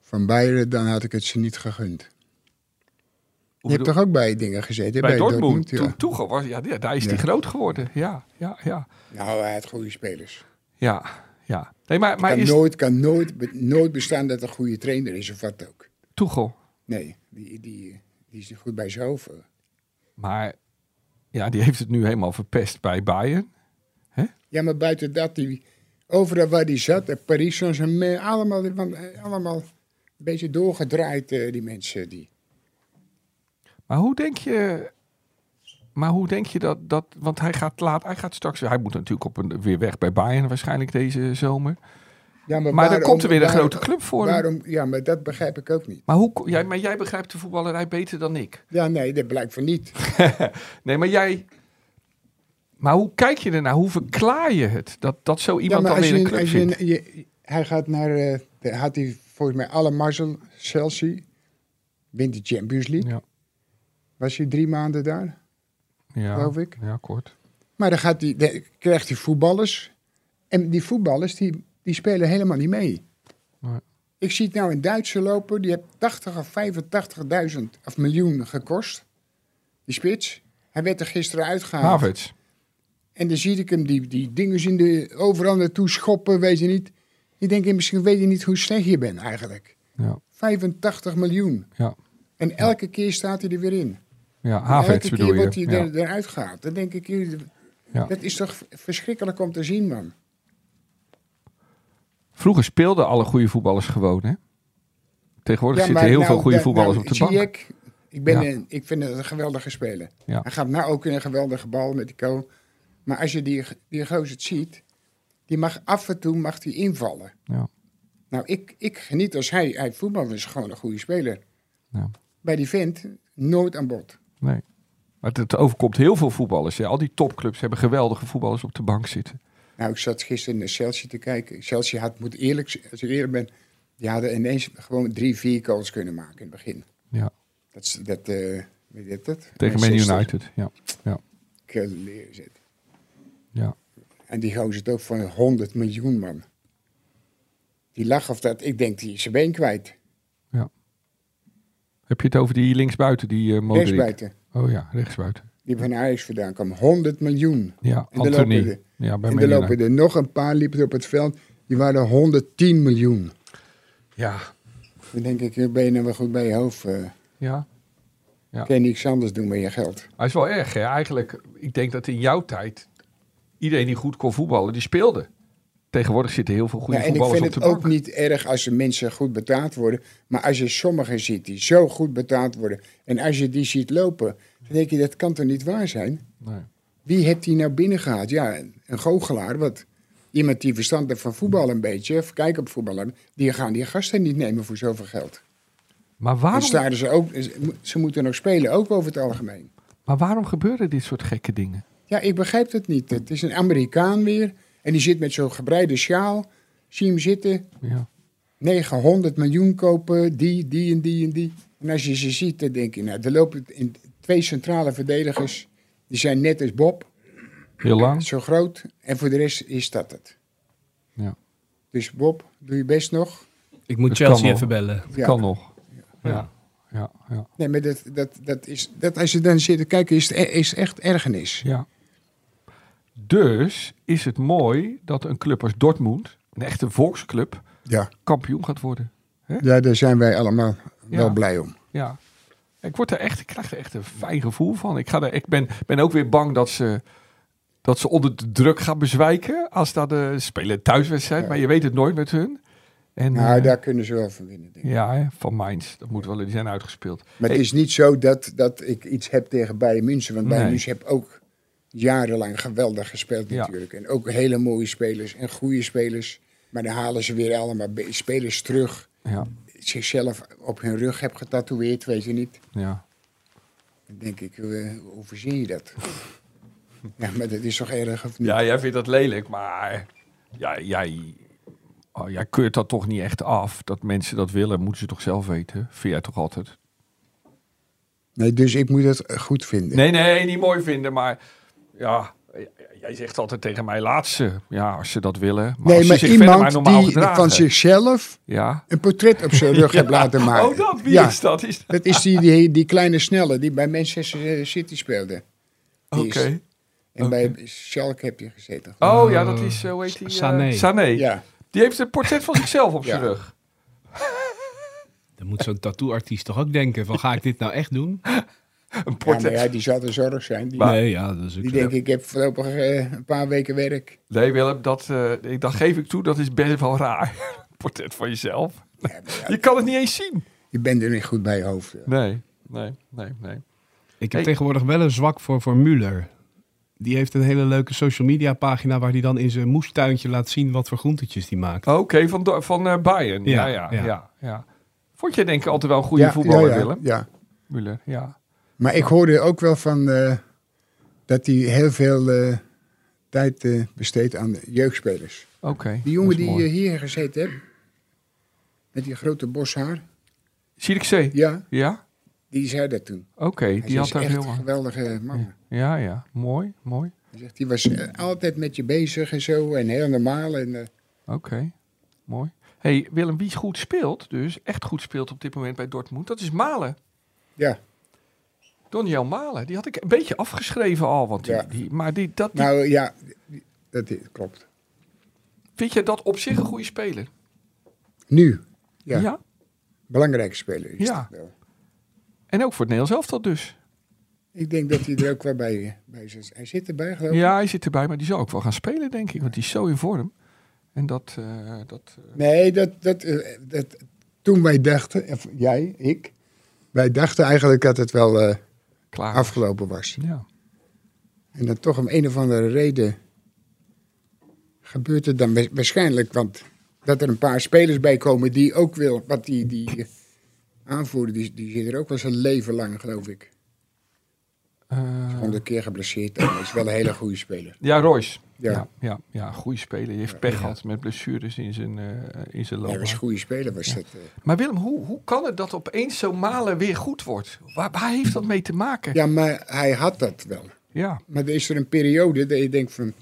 van Bayern, dan had ik het ze niet gegund. Je hebt bedoel- toch ook bij dingen gezeten? Bij Dortmund, ja. toen Tuchel was, ja, ja, daar is hij Ja. groot geworden. Ja, ja, ja. Nou, hij had goede spelers. Ja, ja. Nee, maar, maar Kan, is nooit, kan nooit, be- nooit bestaan dat er een goede trainer is of wat ook. Tuchel... Nee, die, die, die is goed bij zijn hoofd. Maar ja, die heeft het nu helemaal verpest bij Bayern. Ja, maar buiten dat, die, overal waar die zat, eh, Paris Saint-Germain, allemaal, want, eh, allemaal een beetje doorgedraaid, eh, die mensen. Die. Maar hoe denk je, maar hoe denk je dat, dat want hij gaat laat, hij gaat straks, hij moet natuurlijk op een, weer weg bij Bayern waarschijnlijk deze zomer. Ja, Maar dan komt er weer een waarom- grote club voor hem. Waarom, ja, maar dat begrijp ik ook niet. Maar, hoe, ko- jij, maar jij begrijpt de voetballerij beter dan ik. Ja, nee, dat blijkt van niet. Nee, maar jij, Maar hoe kijk je ernaar? Hoe verklaar je het? Dat, dat zo iemand dan als weer in een je- club als je- zit. je- hij gaat naar, eh, de- had hij volgens mij alle mazzel, Chelsea, wint de Champions League. Ja. Was hij drie maanden daar, Ja. geloof ik. ja, kort. Maar dan, gaat hij, dan krijgt hij voetballers. En die voetballers, die, die spelen helemaal niet mee. Nee. Ik zie het nou in Duitsland lopen. Die heeft 80 of 85.000 of miljoen gekost. Die spits. Hij werd er gisteren uitgehaald. Havertz. En dan zie ik hem die, die dingen in de, overal naartoe schoppen, weet je niet. Ik denk, misschien weet je niet hoe slecht je bent eigenlijk. Ja, 85 miljoen. ja. En elke keer staat hij er weer in. ja En Havertz elke keer bedoel je. wordt hij Ja. er, eruit gehaald. Dan denk ik, jullie, Ja. Oh, dat is toch verschrikkelijk om te zien, man. Vroeger speelden alle goede voetballers gewoon, hè? Tegenwoordig Ja, zitten maar heel nou, veel goede da- voetballers nou, op de bank. Ziyech, ik, ben Ja. een, ik vind het een geweldige speler. Ja. Hij gaat nou ook in een geweldige bal met die kool. Maar als je die, die gozer ziet, die mag af en toe mag die invallen. Ja. Nou, ik, ik geniet als hij, hij voetbal is gewoon een goede speler. Ja. Bij die vent, nooit aan bod. Nee. Maar het- het overkomt heel veel voetballers. Hè. Al die topclubs hebben geweldige voetballers op de bank zitten. Nou, ik zat gisteren naar Chelsea te kijken. Chelsea had, moet eerlijk, z- als ik eerlijk ben, die hadden ineens gewoon drie, vier goals kunnen maken in het begin. Ja. Dat, is- dat eh weet je dat? Tegen Man Manchester. United. Ja. Ja. Keleer zit. Ja. En die gozer het ook van 100 miljoen, man. Die lag of dat, ik denk, die is zijn been kwijt. Heb je het over die linksbuiten, die eh Modric? Rechtsbuiten. Oh ja, rechtsbuiten. Die van Ajax vandaan kwam. 100 miljoen. Ja, En er lopen Anthony. er- Ja, bij en Man er lopen United. er nog een paar, liepen er op het veld. Die waren 110 miljoen. Ja. Dan denk ik, eh, ben je nou wel goed bij je hoofd? eh Ja. Kun je niks anders doen met je geld? Hij is wel erg, hè? Eigenlijk, ik denk dat in jouw tijd iedereen die goed kon voetballen, die speelde. Tegenwoordig zitten heel veel ja, goede en ik voetballers vind op de het bank. ook niet erg als de mensen goed betaald worden. Maar als je sommigen ziet die zo goed betaald worden. en als je die ziet lopen. dan denk je, dat kan toch niet waar zijn? Nee. Wie heeft die nou binnengehaald? Ja, een een goochelaar. Wat, iemand die verstand heeft van voetbal een beetje. of kijk op voetbal. die gaan die gasten niet nemen voor zoveel geld. Maar Dan waarom, staan ze ook. ze moeten nog spelen, ook over het algemeen. maar waarom gebeuren dit soort gekke dingen? Ja, ik begrijp het niet. Het is een Amerikaan weer. en die zit met zo'n gebreide sjaal. Zie hem zitten. Ja. 900 miljoen kopen, die, die en die en die. En als je ze ziet, dan denk je, nou, er lopen in twee centrale verdedigers. Die zijn net als Bob, Heel lang. zo groot. En voor de rest is dat het. Ja. Dus Bob, doe je best nog. Ik moet Dat kan Chelsea wel. even bellen. Ja. Kan nog. Ja. Ja, ja, Nee, maar dat, dat, dat is, dat als je dan zit te kijken, is het, e- is het echt ergernis. ja. Dus is het mooi dat een club als Dortmund, een echte volksclub, Ja, kampioen gaat worden. ja daar zijn wij allemaal wel Ja. blij om. Ja. Ik, word er echt, ik krijg er echt een fijn gevoel van. Ik, ga er, ik ben, ben ook weer bang dat ze, dat ze onder de druk gaan bezwijken. Als dat de spelen thuiswedstrijd, maar je weet het nooit met hun. En, Nou, eh, daar kunnen ze wel van winnen. Denk ik. Ja, hè, van Mainz. Dat moet wel, die zijn uitgespeeld. Maar het Hey, is niet zo dat, dat ik iets heb tegen Bayern München. Want Bayern Nee. München heeft ook jarenlang geweldig gespeeld Ja. natuurlijk. En ook hele mooie spelers en goede spelers. Maar dan halen ze weer allemaal be- spelers terug. Ja, Zichzelf op hun rug heb getatoeëerd, weet je niet. ja. Dan denk ik, eh, hoe verzin je dat? ja, maar dat is toch erg of niet? ja, jij vindt dat lelijk, maar ja, jij, oh, jij keurt dat toch niet echt af. Dat mensen dat willen, moeten ze toch zelf weten. Vind jij toch altijd? Nee, dus ik moet het eh, goed vinden. Nee, nee, niet mooi vinden, maar ja, jij zegt altijd tegen mij laatste. Ja, als ze dat willen. Maar Nee, als ze maar zich verder maar iemand normaal die gedragen. van zichzelf Ja. een portret op zijn rug heeft laten maken. Oh, dat, wie Ja. is dat? Is dat- Dat is die, die, die kleine snelle die bij Manchester City speelde. Oké. Die is- En bij Schalke heb je gezeten. Oh ja, dat is, eh, hoe heet die? eh, Sané. Sané. Ja, Die heeft een portret van zichzelf op Ja. zijn rug. Dan moet zo'n tattooartiest toch ook denken van ga ik dit nou echt doen? Een ja, portret. maar ja, die zal de zorg zijn. Die, nee, ja, dat is ook die zo. denkt, ik heb voorlopig eh, een paar weken werk. Nee, Willem, dat, eh, ik- dat geef ik toe. Dat is best wel raar. portret van jezelf. Je kan het niet eens zien. Je bent er niet goed bij je hoofd. eh. Nee, nee, nee, nee. Ik heb Hey. tegenwoordig wel een zwak voor, voor Muller. Die heeft een hele leuke social media pagina waar hij dan in zijn moestuintje laat zien wat voor groentetjes die maakt. Oh, Oké, van, Do- van eh, Bayern. Ja Ja, ja, ja, ja. ja, Vond jij denk ik altijd wel een goede Ja, voetballer, ja, ja, Willem? Ja. Müller, ja. Maar ik hoorde ook wel van eh, dat hij heel veel eh, tijd eh, besteed aan de jeugdspelers. Oké. Die jongen die eh, hier gezeten hebt, met die grote boshaar, Zierikzee? ja, Ja? die zei dat toen. Oké, Hij die had is daar echt heel een lang. geweldige man. Ja, ja. Mooi, mooi. Hij zegt, die was eh, altijd met je bezig en zo, en heel normaal. En, eh, Oké, mooi. hey, Willem, wie goed speelt, dus echt goed speelt op dit moment bij Dortmund, dat is Malen. ja, Doniel Malen. Die had ik een beetje afgeschreven al. Want die, Ja. die- maar die, dat, die- nou ja, die- dat i- klopt. vind je dat op zich een goede speler? Nu, ja, ja? belangrijke speler is Ja. dat wel. En ook voor het Nederlands elftal dus. Ik denk dat hij er ook wel bij, eh, bij zit. Hij zit erbij, geloof ik. Ja, hij zit erbij, maar die zal ook wel gaan spelen, denk ik. Want die is zo in vorm. En dat... eh, dat eh, Nee, dat, dat, eh, dat, toen wij dachten, of jij, ik, wij dachten eigenlijk dat het wel eh, klaar. afgelopen was. Ja. En dan toch om een of andere reden gebeurt het dan wa- waarschijnlijk. Want dat er een paar spelers bij komen die ook wil, wat die, die eh, aanvoerder, die, die zit er ook wel zijn leven lang, geloof ik. Eh, Honderd keer geblesseerd. En dat is wel een hele goede speler. ja, Royce. Ja. Ja. Ja, ja, goede speler. Die heeft pech gehad met blessures in zijn, eh in zijn Ja, loopbaan. was een goede speler, was dat. eh. Maar Willem, hoe, hoe kan het dat opeens zo Malen weer goed wordt? Waar, waar heeft dat mee te maken? Ja, maar hij had dat wel. Ja, Maar er is er een periode dat je denkt van...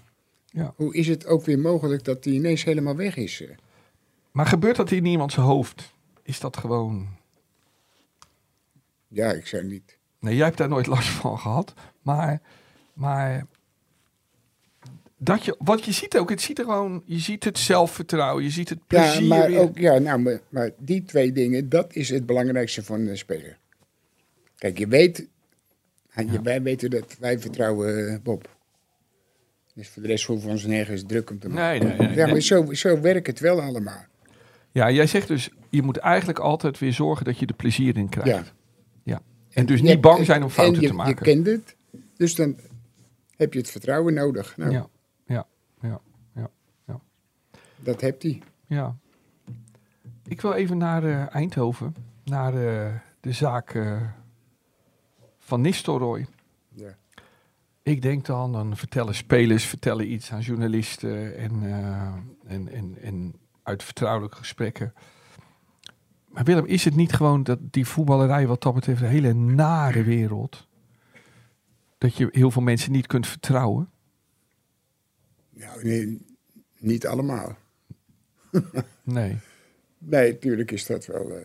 Ja. Hoe is het ook weer mogelijk dat hij ineens helemaal weg is? eh? maar gebeurt dat in iemands hoofd? Is dat gewoon... Ja, ik zou niet. Nee, jij hebt daar nooit last van gehad. Maar, maar dat je, wat je ziet ook, het ziet er gewoon, je ziet het zelfvertrouwen, je ziet het plezier ja, maar weer. ook, ja, nou, maar, maar die twee dingen, dat is het belangrijkste van een speler. Kijk, je weet, ja, wij weten dat wij vertrouwen eh, Bob. Dus voor de rest hoeven we ons nergens druk om te maken. Nee, nee, nee, ja, nee. maar zo, zo werkt het wel allemaal. Dus Ja, jij zegt dus, je moet eigenlijk altijd weer zorgen dat je er plezier in krijgt. Ja. Ja. En dus Je niet hebt- bang zijn om en fouten je- te Je maken. kent het, dus dan heb je het vertrouwen nodig. Nou, Ja, ja, ja, ja, dat hebt hij. ja. Ik wil even naar eh, Eindhoven, naar eh, de zaak eh, van Nistelrooy. Ja. Ik denk dan, dan vertellen spelers vertellen iets aan journalisten en, eh, en, en, en uit vertrouwelijke gesprekken. Maar Willem, is het niet gewoon dat die voetballerij wat dat betreft een hele nare wereld? Dat je heel veel mensen niet kunt vertrouwen? Nou, nee, niet allemaal. Nee. Nee, natuurlijk is dat wel. eh,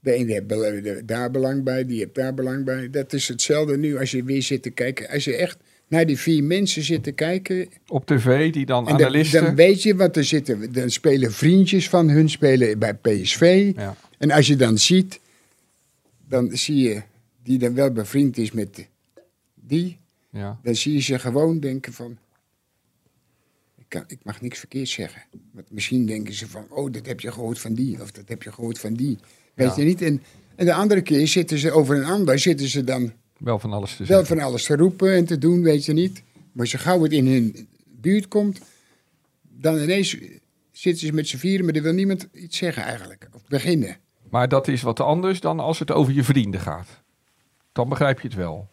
de ene heeft bel- de- daar belang bij, die heeft daar belang bij. Dat is hetzelfde nu als je weer zit te kijken. Als je echt naar die vier mensen zit te kijken. Op tv, die dan En dan, analisten... dan weet je wat er zitten. Dan spelen vriendjes van hun spelen bij PSV. ja. En als je dan ziet, dan zie je die dan wel bevriend is met die. Ja. Dan zie je ze gewoon denken van... Ik, kan, ik mag niks verkeerd zeggen. Want misschien denken ze van... Oh, dat heb je gehoord van die. Of dat heb je gehoord van die. Weet je Ja. niet? En, en de andere keer zitten ze over een ander... zitten ze dan Wel van alles te wel zeggen. van alles te roepen en te doen, weet je niet. Maar zo gauw het in hun buurt komt... dan ineens zitten ze met z'n vieren... maar er wil niemand iets zeggen eigenlijk. Of beginnen. Maar dat is wat anders dan als het over je vrienden gaat. Dan begrijp je het wel.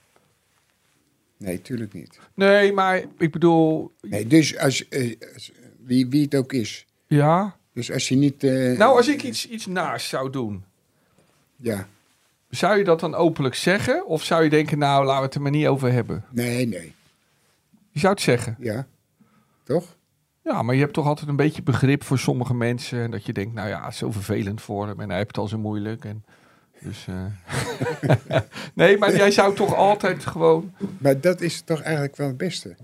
Nee, tuurlijk niet. Nee, maar ik bedoel... Nee, dus als, eh, als- wie, wie het ook is... Ja, Dus als je niet... eh, Nou, als ik iets, iets naars zou doen, Ja, zou je dat dan openlijk zeggen? Of zou je denken, nou, laten we het er maar niet over hebben? nee, nee. Je zou het zeggen. Ja, toch? Ja, maar je hebt toch altijd een beetje begrip voor sommige mensen. En dat je denkt, nou ja, het is zo vervelend voor hem. En hij heeft het al zo moeilijk. En dus, eh. nee, maar jij zou toch altijd gewoon, Maar dat is toch eigenlijk wel het beste?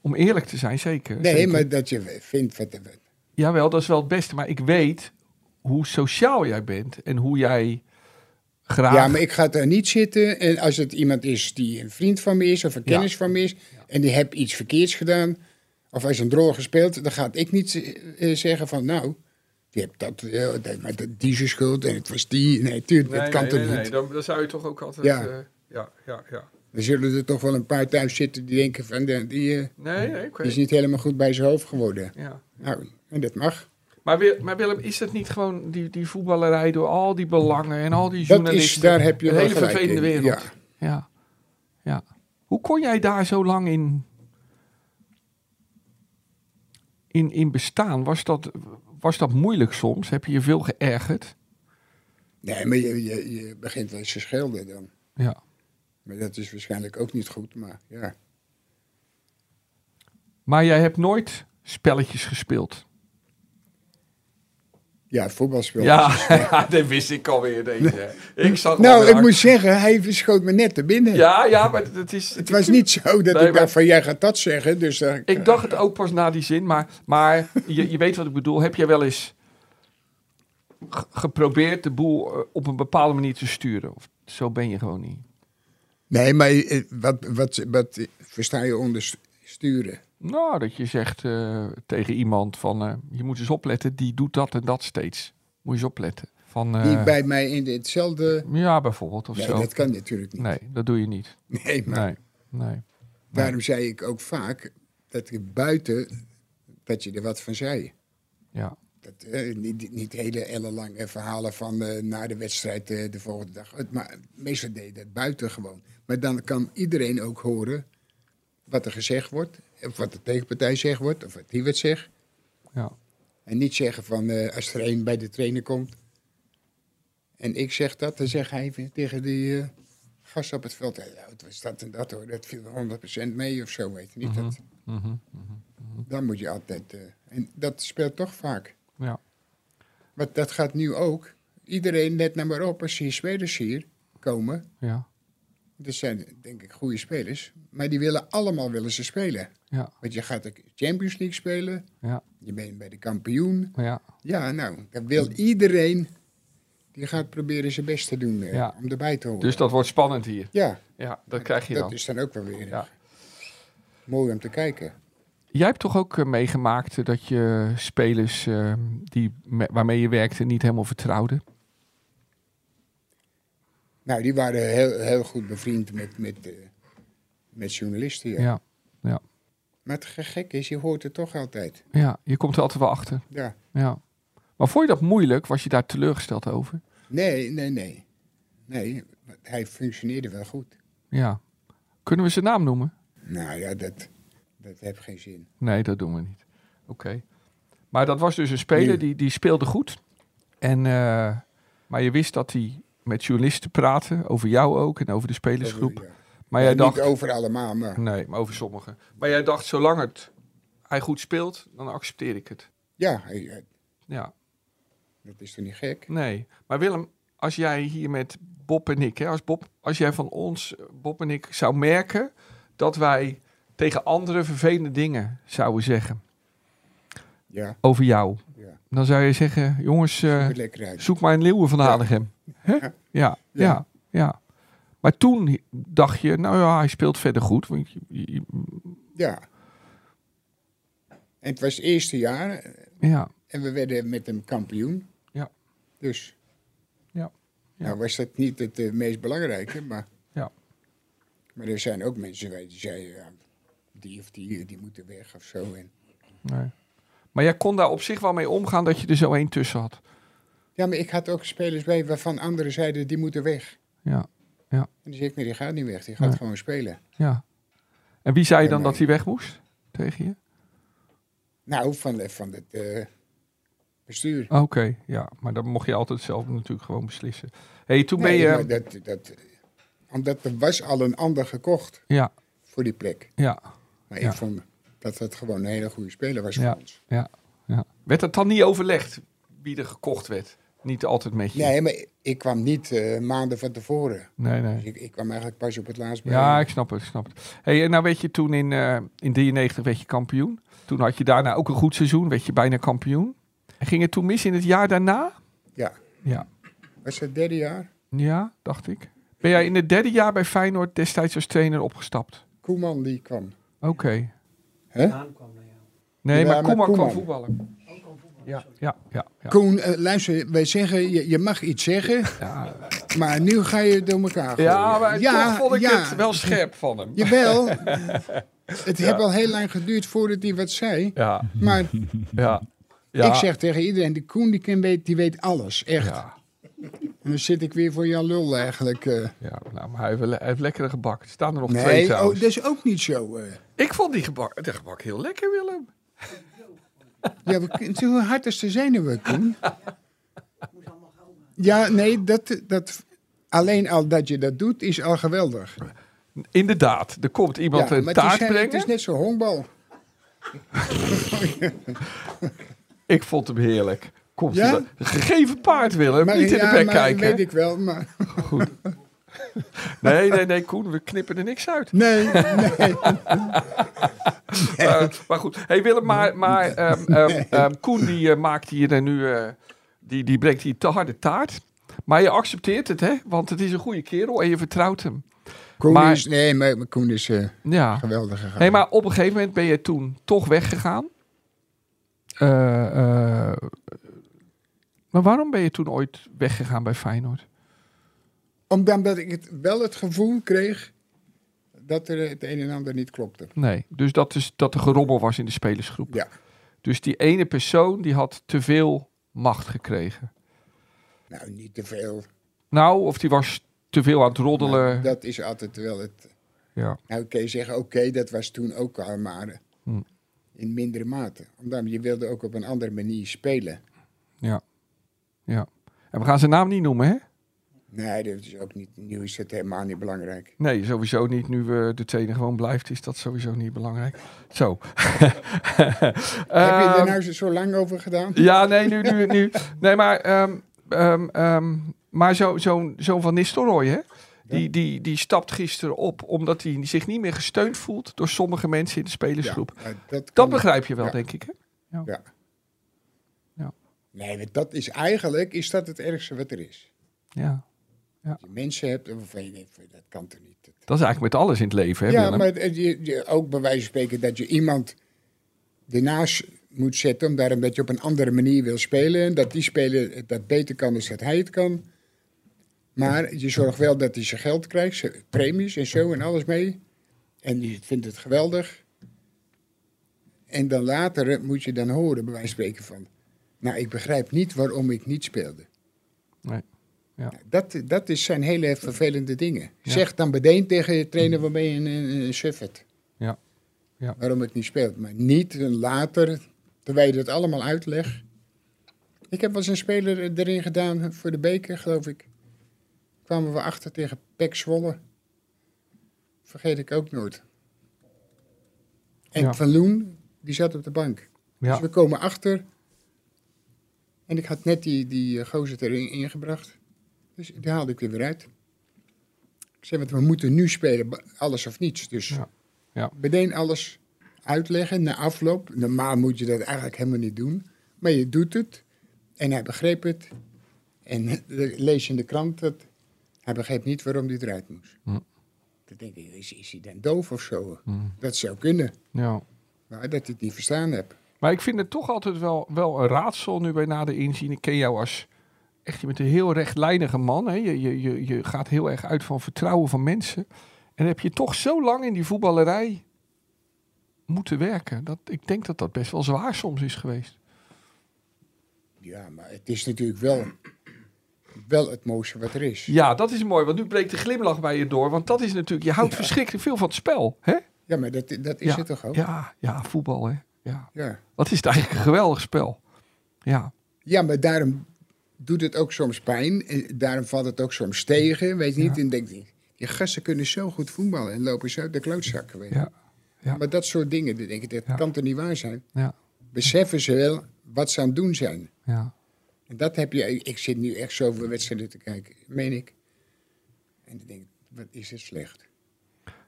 om eerlijk te zijn, zeker. Nee, zeker. maar dat je vindt wat er... Jawel, dat is wel het beste. Maar ik weet hoe sociaal jij bent. En hoe jij graag... Ja, maar ik ga daar niet zitten. En als het iemand is die een vriend van me is of een kennis van me is... en die heb iets verkeerds gedaan... of hij is een drol gespeeld... dan ga ik niet eh, zeggen van... nou, je hebt dat, eh, dat, maar dat die zijn schuld en het was die. Nee, tuurlijk, Nee, dat kan nee, toch nee, niet. nee, Dan, dan zou je toch ook altijd... Ja. eh, ja, ja, ja. Er zullen er toch wel een paar thuis zitten die denken van... die, die, eh, Nee, nee, oké. die is niet helemaal goed bij zijn hoofd geworden. Ja. Nou, en dat mag. Maar, Wil- maar Willem, is dat niet gewoon die, die voetballerij door al die belangen en al die Dat journalisten? is, daar heb je Een wel hele gelijk vervelende in. wereld. Ja. Ja. ja. Hoe kon jij daar zo lang in in, in bestaan? Was dat, was dat moeilijk soms? Heb je je veel geërgerd? Nee, maar je, je, je begint wel eens te schelden dan. Ja. Maar dat is waarschijnlijk ook niet goed, maar ja. Maar jij hebt nooit spelletjes gespeeld. Ja, voetbalspel. Ja, ja dat wist ik alweer. Deze. Ik zat Nou, alweer ik hard- moet zeggen, hij schoot me net te binnen. Ja, ja, maar het is... Het was niet zo dat Nee, ik maar- dacht van, jij gaat dat zeggen, dus dan... Ik dacht het ook pas na die zin, maar, maar je, je weet wat ik bedoel. Heb jij wel eens g- geprobeerd de boel eh, op een bepaalde manier te sturen? Of zo ben je gewoon niet. Nee, maar eh, wat, wat, wat eh, versta je onder st- sturen? Nou, dat je zegt eh, tegen iemand van, eh, je moet eens opletten, die doet dat en dat steeds. Moet je eens opletten. Van, eh, Niet bij mij in hetzelfde... Ja, bijvoorbeeld, of Nee, zo. dat kan natuurlijk niet. Nee, dat doe je niet. Nee, maar Nee, nee. daarom zei ik ook vaak dat ik buiten, dat je er wat van zei. Ja, Dat, eh, niet, niet hele ellenlange verhalen van eh, na de wedstrijd eh, de volgende dag. Het- Maar meestal deed dat buiten gewoon. Maar dan kan iedereen ook horen wat er gezegd wordt. Of wat de tegenpartij zegt wordt. Of wat die wat zegt. ja. En niet zeggen van eh, als er één bij de trainer komt. En ik zeg dat, dan zegt hij weer tegen die eh, gast op het veld. "Hey, nou, het was dat en dat hoor, dat viel 100% mee of zo, weet je niet. dat, Mhm. dan moet je altijd. eh, en dat speelt toch vaak. Ja. Want dat gaat nu ook. Iedereen, let nou maar op, als hier spelers hier komen. ja, Dat zijn denk ik goede spelers. Maar die willen allemaal willen ze spelen. ja, Want je gaat de Champions League spelen. ja, Je bent bij de kampioen. ja. Ja, nou, dan Mm. wil iedereen. Die gaat proberen zijn best te doen eh, Ja. om erbij te horen. Dus dat wordt spannend hier. ja, Ja, dat krijg je dat dan. is dan ook wel weer Ja. mooi om te kijken. Jij hebt toch ook eh, meegemaakt eh, dat je spelers eh, die, me- waarmee je werkte niet helemaal vertrouwde? Nou, die waren heel, heel goed bevriend met, met, eh, met journalisten. Ja. Ja. Ja, Maar het ge- gek is, je hoort het toch altijd. ja, je komt er altijd wel achter. Ja. Ja. Maar vond je dat moeilijk? Was je daar teleurgesteld over? Nee, nee, nee. Nee, want hij functioneerde wel goed. Ja. Kunnen we zijn naam noemen? Nou ja, dat, dat heeft geen zin. Nee, dat doen we niet. Oké. Maar dat was dus een speler Nee. die, die speelde goed. En, eh, maar je wist dat hij met journalisten praatte, over jou ook en over de spelersgroep. Over- ja. Maar jij niet dacht, over allemaal, maar... Nee, maar over sommigen. Maar jij dacht, zolang het, hij goed speelt, dan accepteer ik het. Ja, hij- hij- Ja, dat is toch niet gek? nee. Maar Willem, als jij hier met Bob en ik, hè, als, Bob, als jij van ons, eh, Bob en ik, zou merken dat wij tegen anderen vervelende dingen zouden zeggen Ja, over jou, ja. dan zou je zeggen, jongens, eh, Ziet lekker uit. zoek maar een leeuwen van Hanegem. Hè? Ja, ja, ja. Maar toen dacht je, nou ja, hij speelt verder goed. Want je- je- je- Ja. En het was het eerste jaar eh, ja, en we werden met hem kampioen. Ja. Dus. Ja. Ja. Nou was dat niet het eh, meest belangrijke, maar... Ja. Maar er zijn ook mensen wij- die zeiden, ja, die of die, eh, die moeten weg of zo. En Nee. Maar jij kon daar op zich wel mee omgaan dat je er zo één tussen had. Ja, maar ik had ook spelers bij waarvan anderen zeiden, die moeten weg. Ja, En dan zeg ik, nee, die gaat niet weg, die gaat Nee. gewoon spelen. ja. En wie zei je Ja, dan nee. dat hij weg moest tegen je? Nou, van, de- van het eh, bestuur. Ah, Oké, ja. Maar dat mocht je altijd zelf natuurlijk gewoon beslissen. hey, toen ben Nee, je... maar dat, dat, omdat er was al een ander gekocht Ja, voor die plek. ja, Maar Ja. ik vond dat dat gewoon een hele goede speler was Ja. voor ons. ja, ja. Werd dat dan niet overlegd wie er gekocht werd? Niet altijd met je? Nee, maar ik kwam niet eh, maanden van tevoren. nee. nee. Dus ik, ik kwam eigenlijk pas op het laatst bij. Ja, ik snap het, ik snap het. Hey, en nou weet je, toen in, eh, in 93 werd je kampioen. Toen had je daarna ook een goed seizoen, werd je bijna kampioen. En ging het toen mis in het jaar daarna? Ja. Ja. Was het derde jaar? Ja, dacht ik. Ben jij in het derde jaar bij Feyenoord destijds als trainer opgestapt? Koeman die kwam. Oké. Daan kwam naar jou. Nee, Ja, maar maar Koeman, kwam Koeman. voetballen. Ook al voetbal. Ja, ja, ja. ja. Koen, eh, luister, wij zeggen, je, je mag iets zeggen, Ja, maar nu ga je het door elkaar gooien. ja maar toch vond ik ja. het wel scherp van hem. Jawel, het heeft al heel lang geduurd voordat hij wat zei. Ja, Maar ja. ja. ik zeg tegen iedereen, die Koen die ken weet, die weet alles, echt. Ja, En dan zit ik weer voor Jan Lul eigenlijk. eh. ja nou, maar hij heeft, wel- hij heeft lekkere gebak. Er staan er nog twee Nee, oh, trouwens. dat is ook niet zo. eh. Ik vond die gebak, de gebak heel lekker, Willem. Ja, we, kun- hoe hard is de zenuwen, Koen? Ja, nee, dat, dat, alleen al dat je dat doet is al geweldig. Inderdaad, er komt iemand ja, een maar taart het is, brengen. het is net zo'n honkbal. Ik vond hem heerlijk. Komt Ja? er- gegeven paard, Willem. niet in ja, de bek maar, kijken. weet ik wel, maar... Nee, nee, nee, Koen, we knippen er niks uit. Nee, nee. Eh, maar goed, hey Willem, maar, maar ehm, ehm, ehm, Koen die eh, maakt hier dan nu, eh, die, die brengt hier te harde taart. Maar je accepteert het, hè? Want het is een goede kerel en je vertrouwt hem. Koen Maar- is, nee, maar, maar Koen is eh, Ja. geweldig gegaan. Hey, maar op een gegeven moment ben je toen toch weggegaan. Eh, eh, maar waarom ben je toen ooit weggegaan bij Feyenoord? Omdat ik het, wel het gevoel kreeg dat er het een en ander niet klopte. Nee, dus dat, is, dat er gerommel was in de spelersgroep. Ja. Dus die ene persoon die had te veel macht gekregen. Nou, niet te veel. Nou, of die was te veel aan het roddelen. Nou, dat is altijd wel het... Ja. Nou, kun je zeggen, oké, dat was toen ook al, maar Hm. in mindere mate. Omdat je wilde ook op een andere manier spelen. Ja. Ja. En we gaan zijn naam niet noemen, hè? Nee, dat is ook niet... Nu is het helemaal niet belangrijk. Nee, sowieso niet. Nu eh, de tweede gewoon blijft, is dat sowieso niet belangrijk. Zo. Heb je Ehm, er nou zo- zo lang over gedaan? Ja, nee, nu, nu, nu. Nee, maar, ehm, ehm, ehm, maar zo- zo'n zo'n Van Nistelrooy, hè? Die, die, die stapt gisteren op omdat hij zich niet meer gesteund voelt door sommige mensen in de spelersgroep. maar dat, Dat kan- begrijp je wel, Ja. denk ik. Hè? Ja. Ja. Nee, want dat is eigenlijk is dat het ergste wat er is. Ja. Als je mensen hebt waarvan je denkt, van, dat kan toch niet. Dat- Dat is eigenlijk met alles in het leven, hè, ja, Willem? maar het- je, je- ook bij wijze van spreken dat je iemand ernaast moet zetten, omdat, omdat je op een andere manier wil spelen. En dat die speler het dat beter kan dan dat hij het kan. Maar je zorgt wel dat hij zijn geld krijgt, zijn premies en zo en alles mee. En die vindt het geweldig. En dan later eh, moet je dan horen, bij wijze van spreken, van... Nou, ik begrijp niet waarom ik niet speelde. Nee. Dat, dat is zijn hele vervelende dingen. Ja. Zeg dan meteen tegen je trainer waarmee je een, een, een suffert. Ja. Ja. Waarom het niet speelt. Maar niet later, terwijl je dat allemaal uitlegt. Ik heb wel eens een speler erin gedaan voor de beker, geloof ik. Kwamen we achter tegen Pek Zwolle. Vergeet ik ook nooit. En Ja. Van Loen, die zat op de bank. Ja. Dus we komen achter. En ik had net die, die eh, gozer erin ingebracht. Dus die haalde ik er weer uit. Ik zei, want we moeten nu spelen, ba- alles of niets. Dus Ja, ja. meteen alles uitleggen na afloop. Normaal moet je dat eigenlijk helemaal niet doen. Maar je doet het. En hij begreep het. En eh, lees je in de krant dat hij begreep niet waarom hij eruit moest. Hm. Dan denk ik, is, is hij dan doof of zo? Dat zou kunnen. ja. Maar dat ik het niet verstaan heb. Maar ik vind het toch altijd wel, wel een raadsel nu bij nader inzien. Ik ken jou als echt, je bent een heel rechtlijnige man. Hè? Je, je, je, je gaat heel erg uit van vertrouwen van mensen. En heb je toch zo lang in die voetballerij moeten werken. Dat, ik denk dat dat best wel zwaar soms is geweest. Ja, maar het is natuurlijk wel, wel het mooiste wat er is. Ja, dat is mooi. Want nu breekt de glimlach bij je door. Want dat is natuurlijk, je houdt verschrikkelijk veel van het spel. Hè? Ja, maar dat, dat is Ja, het toch ook? Ja. Ja, ja, voetbal. Hè? Ja. Ja. Wat is het eigenlijk een geweldig spel. Ja, maar daarom doet het ook soms pijn. En daarom valt het ook soms tegen, weet je niet? En denk je, die gasten kunnen zo goed voetballen en lopen zo de klootzakken. Weet je. ja, ja. Maar dat soort dingen, dan denk ik, dat Ja. kan toch niet waar zijn? ja, Beseffen ze wel wat ze aan het doen zijn. ja. En dat heb je, ik zit nu echt zoveel wedstrijden te kijken, meen ik. En dan denk ik, wat is het slecht.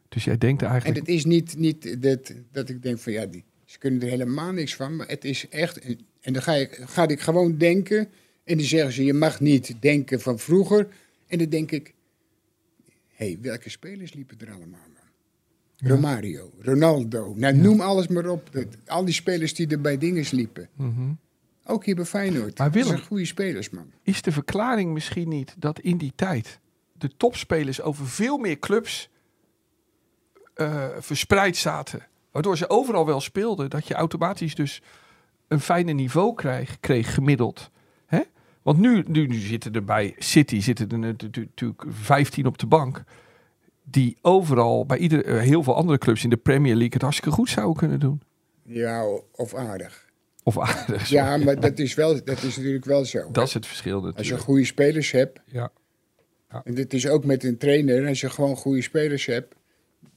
Dus jij denkt En eigenlijk... het is niet, niet dat, dat ik denk van ja, die, ze kunnen er helemaal niks van. Maar het is echt. een- En dan ga ik, ga ik gewoon denken. En dan zeggen ze: je mag niet denken van vroeger. En dan denk ik: hé, hey, welke spelers liepen er allemaal aan? Romario, Ronaldo. Nou, noem alles maar op. Dat, al die spelers die er bij dingen liepen. Mhm. Ook hier bij Feyenoord. Maar Dat Willem- zijn goede spelers, man. is de verklaring misschien niet dat in die tijd de topspelers over veel meer clubs eh, verspreid zaten. Waardoor ze overal wel speelden. Dat je automatisch dus een fijner niveau kreeg, kreeg gemiddeld. Hè? Want nu, nu, nu zitten er bij City zitten er natu- natuurlijk 15 op de bank. Die overal bij ieder, eh, heel veel andere clubs in de Premier League het hartstikke goed zouden kunnen doen. Ja, of aardig. Of aardig. Ja, maar dat is, wel, dat is natuurlijk wel zo. Dat is het verschil Als je natuurlijk. goede spelers hebt, Ja, en dit is ook met een trainer, als je gewoon goede spelers hebt, nou,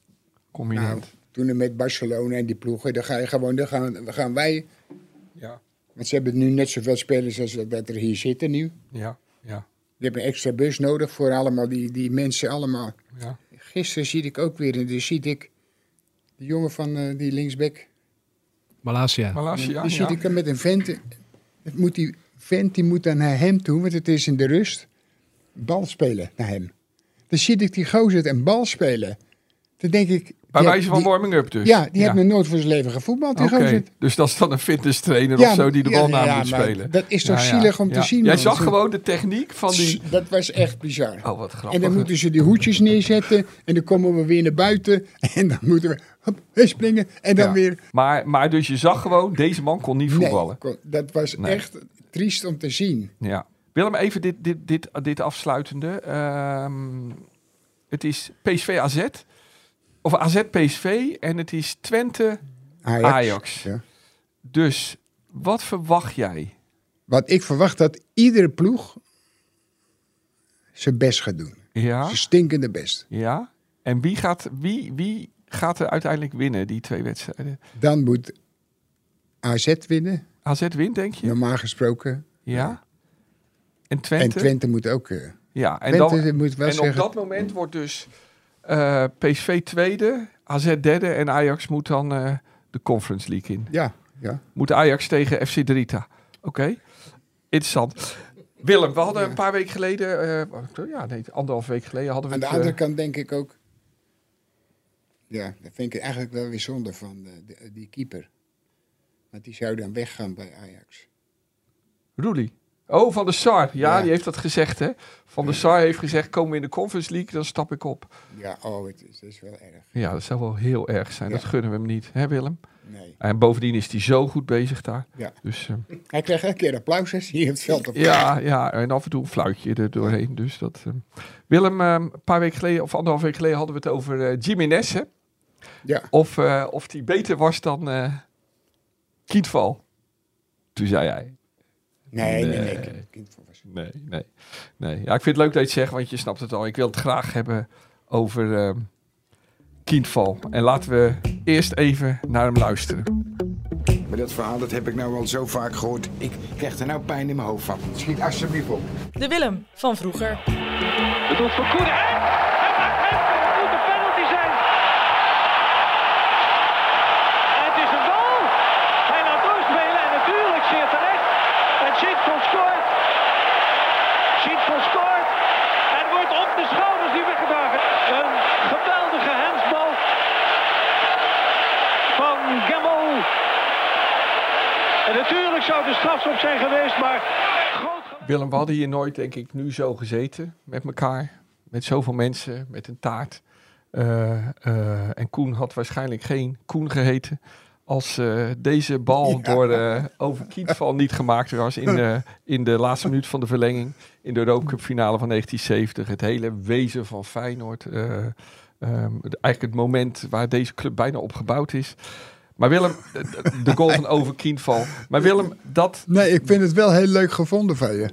combinant. toen er met Barcelona en die ploegen, dan ga je gewoon, dan gaan, dan gaan wij, Ja, want ze hebben nu net zoveel spelers als dat- dat er hier zitten nu. ja, ja, Je hebt een extra bus nodig voor allemaal die, die mensen allemaal. ja. Gisteren zie ik ook weer, en dan zie ik die jongen van eh, die linksback. Malasia. Malasia, dan zie ja. dus ik hem met een vent. Het moet die vent die moet dan naar hem toe, want het is in de rust. Bal spelen naar hem. Dan zie ik die gozer een bal spelen. Dan denk ik... Bij die- wijze van die- warming-up dus. Ja, die heeft nog nooit voor zijn leven gevoetbald, die Oké, gozer. dus dat is dan een fitness trainer Ja, of zo die de bal ja, naar ja, moet maar spelen. Dat is toch Ja, ja, zielig om ja. te zien. Jij man. zag Zo- gewoon de techniek van die... Dat was echt bizar. Oh, wat En grappig. dan moeten ze die hoedjes neerzetten. En dan komen we weer naar buiten. En dan moeten we hop, springen. En dan Ja. weer. maar, maar dus je zag gewoon, deze man kon niet voetballen. Nee, dat was Nee. echt triest om te zien. Ja. Willem, even dit, dit, dit, dit afsluitende. Ehm, het is PSV AZ. Of AZ PSV. En het is Twente Ajax. Ajax. Ja. Dus wat verwacht jij? Want ik verwacht dat iedere ploeg zijn best gaat doen. Ja? Zijn stinkende best. Ja? En wie gaat, wie, wie gaat er uiteindelijk winnen, die twee wedstrijden? Dan moet AZ winnen, AZ wint, denk je? normaal gesproken. Ja. En Twente? En Twente moet ook. eh, Ja, en, dan, Twente moet wel en op zeggen. dat moment wordt dus eh, PSV tweede, AZ derde en Ajax moet dan eh, de Conference League in. Ja, ja. Moet Ajax tegen FC Drita. Oké, interessant. Willem, we hadden een paar weken geleden, eh, ja nee, anderhalf week geleden hadden we Aan de het, andere eh, kant denk ik ook. Ja, dat vind ik eigenlijk wel weer zonde van eh, de- die keeper. Want die zou dan weggaan bij Ajax. Roelie. Oh, Van de Sar. Ja, Ja. die heeft dat gezegd, hè. Van de Sar heeft gezegd, komen we in de Conference League, dan stap ik op. Ja, oh, het is, het is wel erg. Ja, dat zou wel heel erg zijn. Ja. Dat gunnen we hem niet, hè Willem? Nee. En bovendien is hij zo goed bezig daar. Ja. Dus, eh, Hij krijgt elke keer applaus als hij in het veld op. Ja, ja, en af en toe een fluitje er doorheen. Dus dat, ehm. Willem, ehm, een paar weken geleden, of anderhalf week geleden, hadden we het over eh Jiménez. hè? Ja. Of, eh, of die beter was dan eh Kietval. Toen zei hij, Nee, nee, nee. Nee. kind van was- nee, nee, nee. Ja, ik vind het leuk dat je het zegt, want je snapt het al. Ik wil het graag hebben over ehm Kietval. En laten we eerst even naar hem luisteren. Maar dat verhaal dat heb ik nou al zo vaak gehoord. Ik krijg er nou pijn in mijn hoofd van. Schiet alsjeblieft op. De Willem van vroeger. Het is een goal. Hij laat doorspelen en natuurlijk zeer terecht. En Schietson scoort. Schietson scoort. En wordt op de schouders die weggedragen. Een geweldige handsbal van Gemmel. En natuurlijk zou de strafschop zijn geweest, maar groot Willem, we hadden hier nooit, denk ik, nu zo gezeten met elkaar. Met zoveel mensen, met een taart. Eh, eh, en Koen had waarschijnlijk geen Koen geheten. Als eh, deze bal door eh over Kietval niet gemaakt was in, de- in de laatste minuut van de verlenging. In de Europa Cup finale van 1970. Het hele wezen van Feyenoord. eh, ehm, het- eigenlijk het moment waar deze club bijna op gebouwd is. Maar Willem, eh, de goal van over Kietval. Maar Willem, dat, Nee, ik vind het wel heel leuk gevonden van je.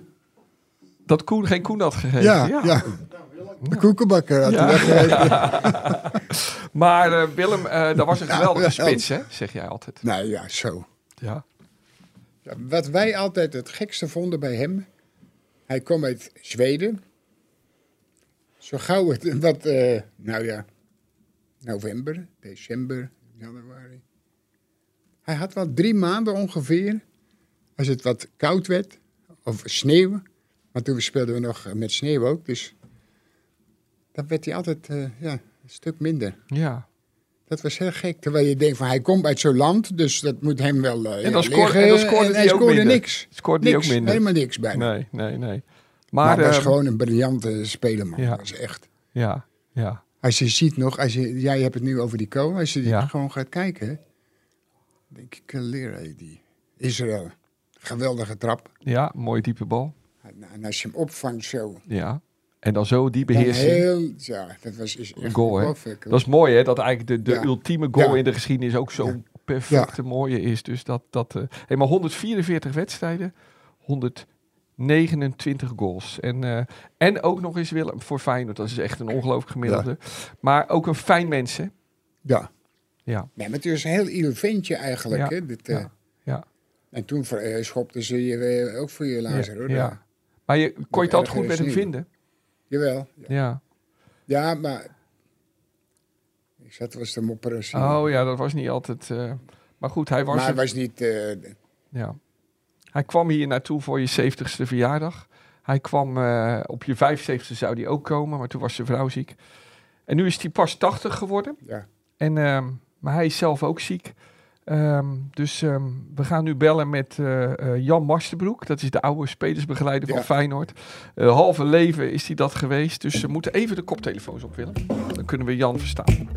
dat Koen geen Koen had gegeven. Ja, ja. De koekenbakker had Ja. hij weggegeven. Maar eh, Willem, eh dat was een geweldige ja. spits, hè? zeg jij altijd. Nou ja, zo. Ja. Ja, Wat wij altijd het gekste vonden bij hem. Hij kwam uit Zweden. Zo gauw het, wat, eh, nou ja, november, december, januari. Hij had wel drie maanden ongeveer, als het wat koud werd, of sneeuw. Want toen speelden we nog met sneeuw ook, dus dan werd hij altijd eh, ja, een stuk minder. ja. Dat was heel gek, terwijl je denkt van hij komt uit zo'n land, dus dat moet hem wel eh En ja, dan, scoorde, liggen. en dan scoorde hij, hij ook scoorde minder. niks. Scoorde niks, hij ook minder. Helemaal niks bijna. Nee, nee, nee. maar Maar, hij was ehm, gewoon een briljante speler, man. ja. Dat is echt. Ja, ja. Als je ziet nog, als je, jij hebt het nu over die kool, als je die Ja. gewoon gaat kijken, hè, denk ik, leren die Israël. Geweldige trap. Ja, mooie diepe bal. En als je hem opvangt zo, Ja. En dan zo die dan beheersing. heel, ja, dat was is echt Een goal, hè? ongelooflijk, hoor. Dat is mooi, hè? Dat eigenlijk de, de Ja. ultieme goal Ja. in de geschiedenis ook zo'n perfecte mooie is. Dus dat, dat eh, hey, maar 144 wedstrijden, 129 goals. En, eh, en ook nog eens Willem voor Feyenoord. Dat is echt een ongelooflijk gemiddelde. Maar ook een fijn mens, hè? Ja. Ja. Nee, maar het is een heel ieder ventje eigenlijk. Ja, Hè, dit, eh. ja, ja. En toen ver- eh, schopten ze je eh, ook voor je lazer, hoor. ja. Maar je, kon je het erger altijd goed is met hem niet. vinden? Jawel. Ja. Ja, maar... Ik zat wel eens te mopperen. zie je. Oh ja, dat was niet altijd... eh, maar goed, hij was maar het. het was niet... eh, Ja. Hij kwam hier naartoe voor je 70ste verjaardag. Hij kwam eh, op je 75ste zou hij ook komen, maar toen was zijn vrouw ziek. En nu is hij pas 80 geworden. ja. En, ehm, maar hij is zelf ook ziek. Ehm, dus ehm, we gaan nu bellen met eh, eh, Jan Masterbroek. Dat is de oude spelersbegeleider van Ja. Feyenoord. Eh, halve leven is hij dat geweest. Dus we moeten even de koptelefoons op, Willem. Dan kunnen we Jan verstaan.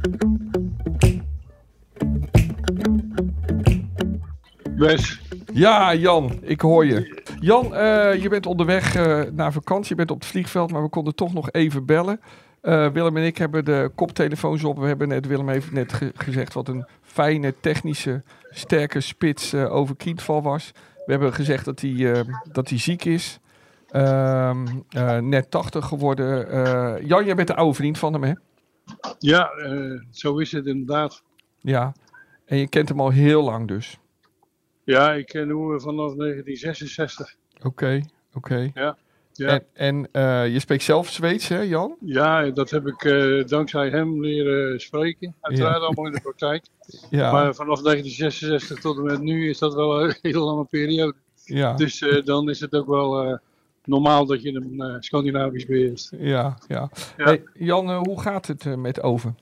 Wes, Ja, Jan, ik hoor je. Jan, eh, je bent onderweg eh, naar vakantie. Je bent op het vliegveld, maar we konden toch nog even bellen. Eh, Willem en ik hebben de koptelefoons op. We hebben net, Willem heeft net ge- gezegd wat een fijne, technische, sterke spits eh over Kindval was. We hebben gezegd dat hij, eh, dat hij ziek is. Ehm, eh, net 80 geworden. Eh, Jan, jij bent de oude vriend van hem, hè? ja, eh, zo is het inderdaad. Ja. En je kent hem al heel lang dus. Ja, ik ken Oewe vanaf 1966. Oké, oké. Ja, En, en eh, je spreekt zelf Zweeds, hè, Jan? ja dat heb ik eh, dankzij hem leren spreken. Uiteraard allemaal in de praktijk. Ja. Maar vanaf 1966 tot en met nu is dat wel een hele lange periode. Ja, Dus eh, dan is het ook wel eh, normaal dat je hem eh, Scandinavisch beheerst. ja, ja. Ja. Hey, Jan, eh, hoe gaat het eh, met Oven?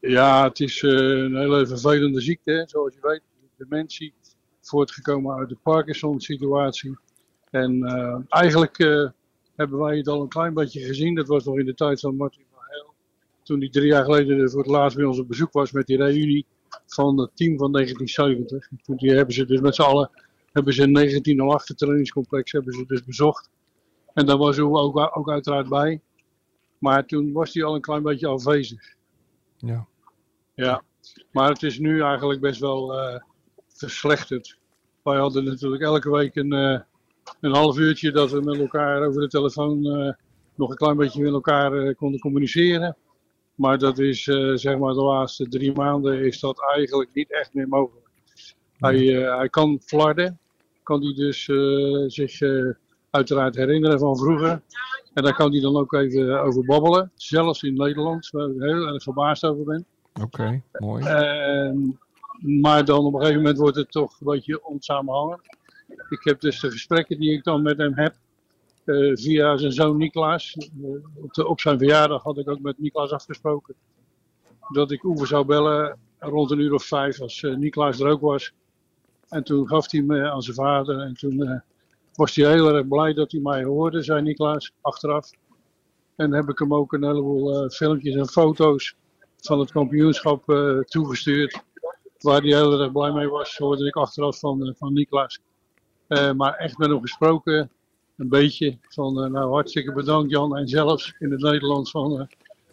Ja, het is eh, een hele vervelende ziekte, hè, zoals je weet. Dementie, voortgekomen uit de Parkinson-situatie. En eh, eigenlijk eh, hebben wij het al een klein beetje gezien. Dat was nog in de tijd van Martin van Heel. Toen hij drie jaar geleden voor het laatst bij ons op bezoek was met die reunie van het team van 1970. Toen die hebben ze dus met z'n allen hebben ze een 1908 trainingscomplex hebben ze dus bezocht. En daar was hij ook, ook uiteraard bij. Maar toen was hij al een klein beetje afwezig. Ja. Ja, maar het is nu eigenlijk best wel eh, verslechterd. Wij hadden natuurlijk elke week een, eh, een half uurtje dat we met elkaar over de telefoon eh, nog een klein beetje met elkaar eh, konden communiceren. Maar dat is eh, zeg maar de laatste drie maanden is dat eigenlijk niet echt meer mogelijk. Hij, eh, hij kan flarden, kan hij dus eh, zich eh, uiteraard herinneren van vroeger. En daar kan hij dan ook even over babbelen, zelfs in Nederland, waar ik heel erg verbaasd over ben. Oké, mooi. Ehm, maar dan op een gegeven moment wordt het toch een beetje onsamenhangend. Ik heb dus de gesprekken die ik dan met hem heb, eh, via zijn zoon Niklaas. Eh, op, de- op zijn verjaardag had ik ook met Niklaas afgesproken dat ik Oever zou bellen rond een uur of vijf als eh, Niklaas er ook was. En toen gaf hij me aan zijn vader en toen eh, was hij heel erg blij dat hij mij hoorde, zei Niklaas, achteraf. En heb ik hem ook een heleboel eh, filmpjes en foto's van het kampioenschap eh, toegestuurd. Waar hij heel erg blij mee was, hoorde ik achteraf van, eh, van Niklaas. Eh, maar echt met hem gesproken, een beetje van eh, nou hartstikke bedankt Jan. En zelfs in het Nederlands van eh,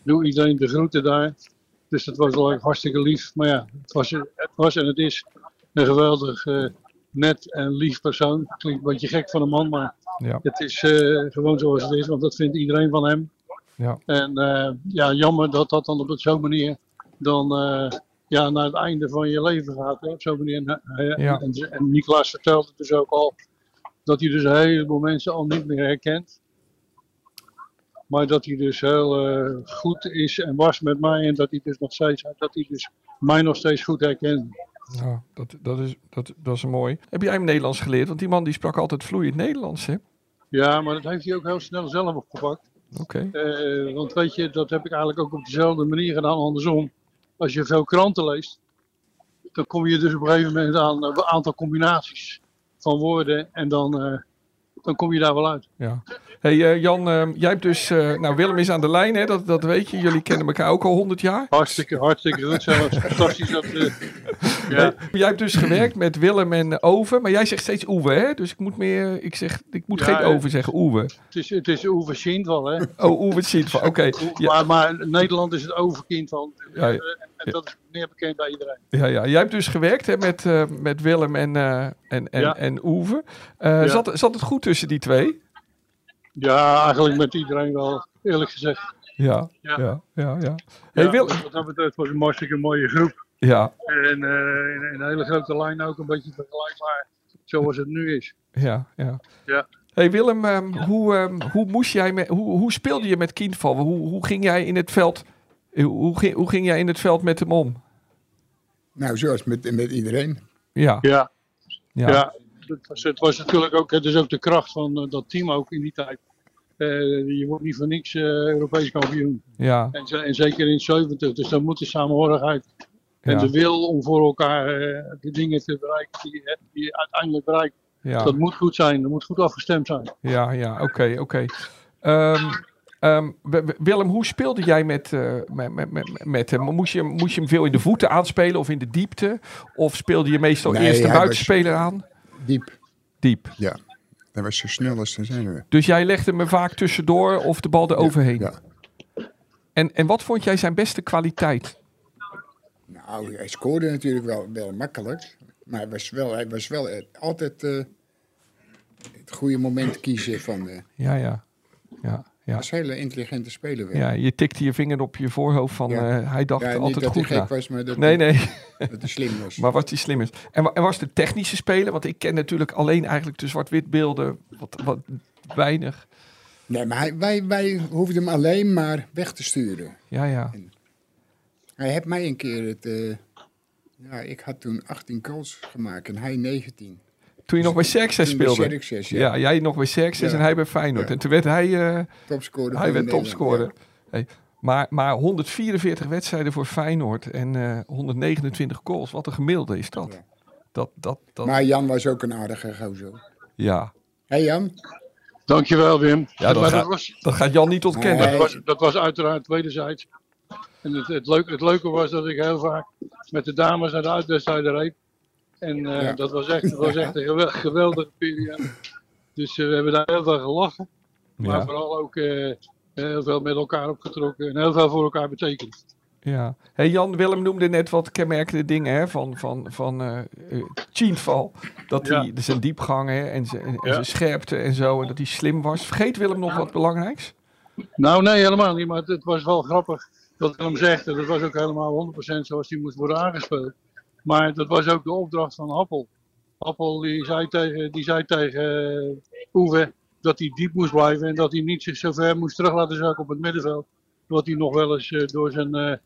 doe iedereen de groeten daar. Dus dat was wel echt hartstikke lief. Maar ja, het was, het was en het is een geweldig eh, net en lief persoon. Klinkt een beetje gek van een man, maar Ja. het is eh, gewoon zoals het is. Want dat vindt iedereen van hem. Ja. En eh, ja, jammer dat dat dan op zo'n manier dan eh, ja, naar het einde van je leven gaat. Hè, op zo'n manier. En, eh, Ja. en, en Niklaas vertelde dus ook al dat hij dus een heleboel mensen al niet meer herkent. Maar dat hij dus heel eh, goed is en was met mij. En dat hij dus nog steeds, dat hij dus mij nog steeds goed herkent. Ja, nou, dat, dat, is, dat, dat is mooi. Heb jij hem Nederlands geleerd? Want die man die sprak altijd vloeiend Nederlands, hè? Ja, maar dat heeft hij ook heel snel zelf opgepakt. Oké. Eh, want weet je, dat heb ik eigenlijk ook op dezelfde manier gedaan, andersom. Als je veel kranten leest, dan kom je dus op een gegeven moment aan een aantal combinaties van woorden en dan, eh, dan kom je daar wel uit. Ja. Hey, eh, Jan, eh, jij hebt dus... eh, nou, Willem is aan de lijn, hè? Dat, dat weet je. Jullie kennen elkaar ook al 100 jaar. Hartstikke, hartstikke goed zelfs. Fantastisch dat, eh, Ja. Jij hebt dus gewerkt met Willem en Oven, maar jij zegt steeds Oewe, hè? Dus ik moet meer, ik zeg, ik moet Ja, geen ja. Oven zeggen, Oewe. Het is, het is overziend wel, hè? Oh, Oewe ziet van, oké. Ja. Maar, maar Nederland is het overkind van. Ja, ja. Eh, en en dat is meer bekend bij iedereen. Ja, ja, jij hebt dus gewerkt hè, met, eh, met Willem en, eh, en, en, Ja. en Oeve. Eh, Ja. zat, zat het goed tussen die twee? Ja, eigenlijk met iedereen wel, eerlijk gezegd. Ja, ja, Ja. ja. ja, Hey, Ja, Willem. Wat dat betreft was het een hartstikke mooie groep. Ja, En eh, in, in een hele grote lijn ook een beetje vergelijkbaar zoals het nu is. ja, ja. Ja. Hey Willem, ehm, hoe, ehm, hoe, moest jij met, hoe, hoe speelde je met Kindval? Hoe, hoe ging jij in het veld? eh, Hoe, hoe, ging, hoe ging jij in het veld met hem om? Nou, zoals met, met iedereen. Ja. Ja. Ja. Ja, dat was, het was natuurlijk ook, het is ook de kracht van eh, dat team ook in die tijd. Eh, je wordt niet voor niks eh, Europees kampioen. Ja. En, ze- en zeker in 70, dus dan moet de samenhorigheid en Ja. de wil om voor elkaar eh, de dingen te bereiken die, je- die je uiteindelijk bereikt. Ja. Dat moet goed zijn, dat moet goed afgestemd zijn. Ja, ja, oké, oké. Ehm, ehm, Wi- Wi- Willem, hoe speelde jij met, eh, met, met, met, met hem? Moest je, moest je hem veel in de voeten aanspelen of in de diepte? Of speelde je meestal Nee, eerst een hij was- buitenspeler aan? Diep. Diep. Ja. Dat was zo snel als te zijn. hoor. Dus jij legde hem er vaak tussendoor of de bal eroverheen? Ja. En, en wat vond jij zijn beste kwaliteit? Nou, hij scoorde natuurlijk wel, wel makkelijk. Maar hij was wel, hij was wel eh, altijd eh, het goede moment kiezen van... eh Ja, ja. Ja, ja. was een hele intelligente speler. wel. ja je tikte je vinger op je voorhoofd van Ja. eh, hij dacht Ja, niet altijd dat hij goed gek na. was, maar dat nee, hij- nee. Dat hij slim was. Maar wat die slim is. En, wa- en was de technische speler? Want ik ken natuurlijk alleen eigenlijk de zwart-wit beelden. Wat, wat weinig. Nee, maar hij, wij, wij hoefden hem alleen maar weg te sturen. Ja, ja. Hij heeft mij een keer het... eh, ja, ik had toen 18 goals gemaakt en hij 19. Toen je nog bij Xerxes Toen bij speelde. Xerxes, ja. ja. jij nog bij Xerxes Ja. en hij bij Feyenoord. Ja. En toen werd hij, eh, Topscorer. hij van werd Nederland, topscorer. Hey, Maar, maar 144 wedstrijden voor Feyenoord en eh, 129 goals. Wat een gemiddelde is dat. Ja. Dat, dat, ja. dat. Maar Jan was ook een aardige gozer. ja. Hé Jan? Dankjewel Wim. Ja, dat maar gaat- dat, was, Dat gaat Jan niet ontkennen. Nee. dat, was, dat was uiteraard wederzijds. En het, het, leuke, het leuke was dat ik heel vaak met de dames naar de uitwedstrijden reed. En eh, Ja. dat was echt, dat was echt een gewel- geweldige periode. Dus eh, we hebben daar heel veel gelachen. Maar Ja. vooral ook eh, heel veel met elkaar opgetrokken. En heel veel voor elkaar betekend. Ja. Hey Jan, Willem noemde net wat kenmerkende dingen hè, van, van, van eh eh, Tienval. Dat Ja. hij zijn diepgang hè, en, zijn, en Ja. zijn scherpte en zo. En dat hij slim was. Vergeet Willem nog wat belangrijks? Nou, nee, helemaal niet. Maar het, het was wel grappig wat Willem zegt. En dat was ook helemaal 100% zoals die moest worden aangespeeld. Maar dat was ook de opdracht van Appel. Appel die zei tegen, die zei tegen eh, Oewe dat hij diep moest blijven. En dat hij niet zich zo ver moest terug laten zakken op het middenveld. Wat hij nog wel eens eh, door zijn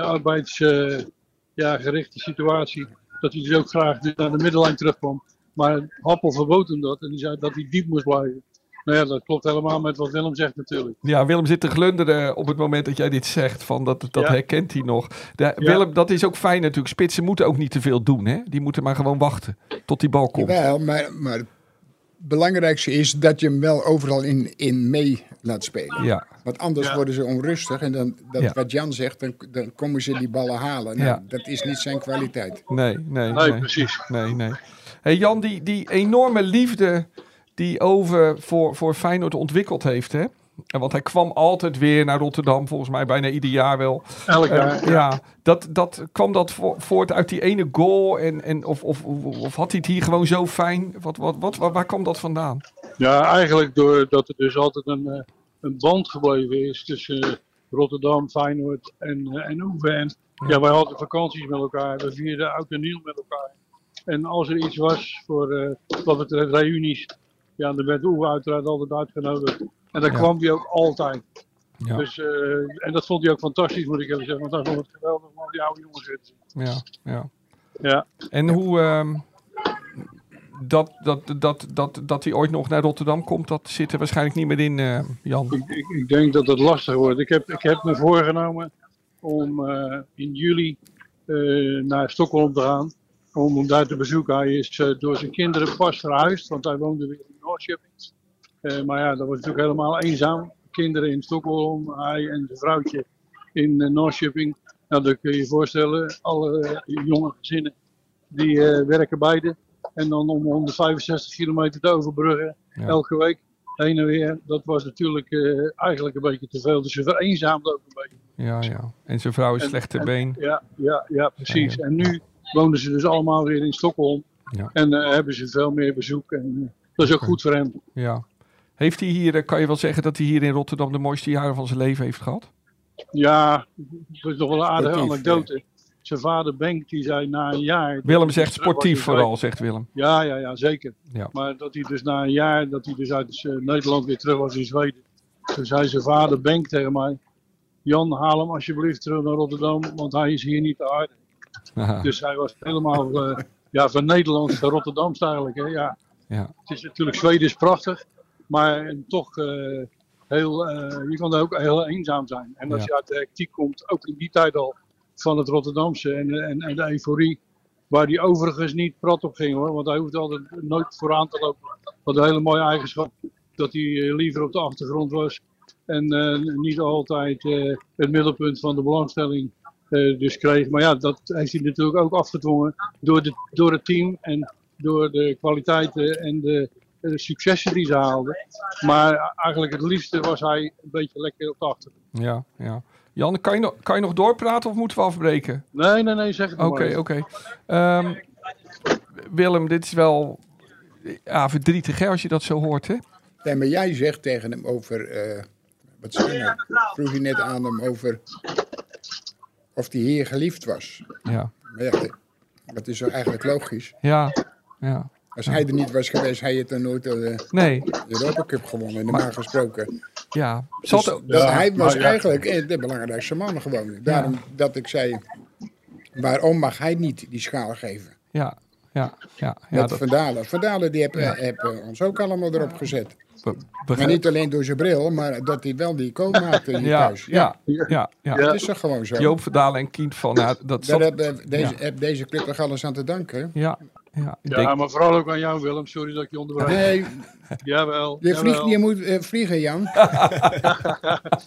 arbeidsgerichte ja, gerichte situatie. Dat hij dus ook graag naar de middenlijn terugkwam. Maar Appel verbood hem dat. En die zei dat hij diep moest blijven. Nou ja, dat klopt helemaal met wat Willem zegt natuurlijk. Ja, Willem zit te glunderen op het moment dat jij dit zegt. Van dat dat Ja. herkent hij nog. De- Willem, dat is ook fijn natuurlijk. Spitsen moeten ook niet te veel doen. Hè? Die moeten maar gewoon wachten tot die bal komt. Wel, maar, maar het belangrijkste is dat je hem wel overal in, in mee laat spelen. Ja, Want anders Ja. worden ze onrustig. En dan, dat, Ja. wat Jan zegt, dan, dan komen ze die ballen halen. Nou, Ja. Dat is niet zijn kwaliteit. nee, nee. Nee, nee. precies. Nee, nee. Hey Jan, die, die enorme liefde die Over voor, voor Feyenoord ontwikkeld heeft, hè? En Want hij kwam altijd weer naar Rotterdam, volgens mij bijna ieder jaar wel. Elk jaar. Eh, ja, dat, dat, kwam dat vo- voort uit die ene goal? En, en, of, of, of had hij het hier gewoon zo fijn? Wat, wat, wat, waar, waar kwam dat vandaan? Ja, eigenlijk doordat er dus altijd een, eh, een band gebleven is tussen eh, Rotterdam, Feyenoord en, eh, en Oever. En ja, wij hadden vakanties met elkaar, we vierden oud en nieuw met elkaar. En als er iets was voor eh, wat betreft reunies, ja, dan werd Oever uiteraard altijd uitgenodigd. En daar Ja. kwam hij ook altijd. Ja. Dus, eh, en dat vond hij ook fantastisch, moet ik even zeggen. Want hij vond het geweldig om al die oude jongens weer te zien. Ja, ja. Ja. En hoe ehm, dat, dat, dat, dat, dat hij ooit nog naar Rotterdam komt, dat zit er waarschijnlijk niet meer in, eh, Jan. Ik, ik, ik denk dat het lastig wordt. Ik heb, ik heb me voorgenomen om eh, in juli eh, naar Stockholm te gaan. Om hem daar te bezoeken. Hij is eh, door zijn kinderen pas verhuisd, want hij woonde weer in Norrköping. Eh, maar ja, dat was natuurlijk helemaal eenzaam. Kinderen in Stockholm, hij en zijn vrouwtje in uh, Nou, dan kun je je voorstellen, alle eh, jonge gezinnen Die eh, werken beide. En dan om 165 kilometer te overbruggen. Ja. Elke week. Heen en weer. Dat was natuurlijk eh, eigenlijk een beetje te veel. Dus je vereenzaamde ook een beetje. Ja, ja. En zijn vrouw is En- slecht en- ter been. Ja, ja, ja precies. En nu wonen ze dus allemaal weer in Stockholm. Ja. En eh, hebben ze veel meer bezoek. En eh, dat is ook goed voor hem. Ja. Heeft hij hier, eh, kan je wel zeggen dat hij hier in Rotterdam de mooiste jaren van zijn leven heeft gehad? Ja, dat is nog wel een aardige Sportief, anekdote. Zijn vader Benk, die zei na een jaar... Willem zegt Terug was sportief hij vooral, vrij- zegt Willem. Ja, ja, ja, zeker. Ja. Maar dat hij dus na een jaar, dat hij dus uit eh, Nederland weer terug was in Zweden. Toen zei zijn vader Benk tegen mij... Jan, haal hem alsjeblieft terug naar Rotterdam, want hij is hier niet te aardig. Haha. Dus hij was helemaal eh, ja, van Nederlands naar Rotterdamst eigenlijk. Hè? Ja. Ja. Het is natuurlijk, Zweden is prachtig, maar toch eh, heel, eh, je kan daar ook heel eenzaam zijn. En als Ja. je uit de hectiek komt, ook in die tijd al, van het Rotterdamse en, en, en de euforie, waar die overigens niet prat op ging hoor, want hij hoefde altijd nooit vooraan te lopen. Wat een hele mooie eigenschap, dat hij eh, liever op de achtergrond was en eh, niet altijd eh, het middelpunt van de belangstelling eh, dus kreeg. Maar ja, dat heeft hij natuurlijk ook afgedwongen door, de, door het team en door de kwaliteiten en de, eh, successen die ze haalden. Maar eigenlijk het liefste was hij een beetje lekker op de achtergrond. Ja, ja. Jan, kan je, nog, kan je nog doorpraten of moeten we afbreken? Nee, nee, nee, zeg het Oké, maar oké. eens. Ehm, Willem, dit is wel ja, verdrietig hè, als je dat zo hoort, hè? Nee, maar jij zegt tegen hem over. eh, wat zei je nou? Vroeg je net aan hem over. of hij hier geliefd was. Ja, Maar ja, de- dat is wel eigenlijk logisch. ja, ja. Als hij er niet was geweest, hij had dan nooit eh, de Nee, Europa Cup gewonnen, normaal gesproken. ja. nou Zat Dus ook- dat hij was maar ja. eigenlijk eh, de belangrijkste man gewoon. Daarom dat ik zei, waarom mag hij niet die schaal geven? Ja, ja, ja. ja Met dat Van Dalen. Van Dalen die heb, eh, heb, eh, ons ook allemaal erop gezet. be- Maar begrijp- niet alleen door zijn bril, maar dat hij wel die koop maakte hier Ja, thuis. ja, ja, ja. Dat is toch gewoon zo? Joop Verdalen en Kient van, ja, dat Daar zat... hebben deze, ja. heb deze club toch alles aan te danken? Ja, ja. ik Ja, denk- maar vooral ook aan jou Willem, sorry dat ik je onderbreek. Nee, Jawel, je, jawel. vliegt, je moet eh, vliegen, Jan.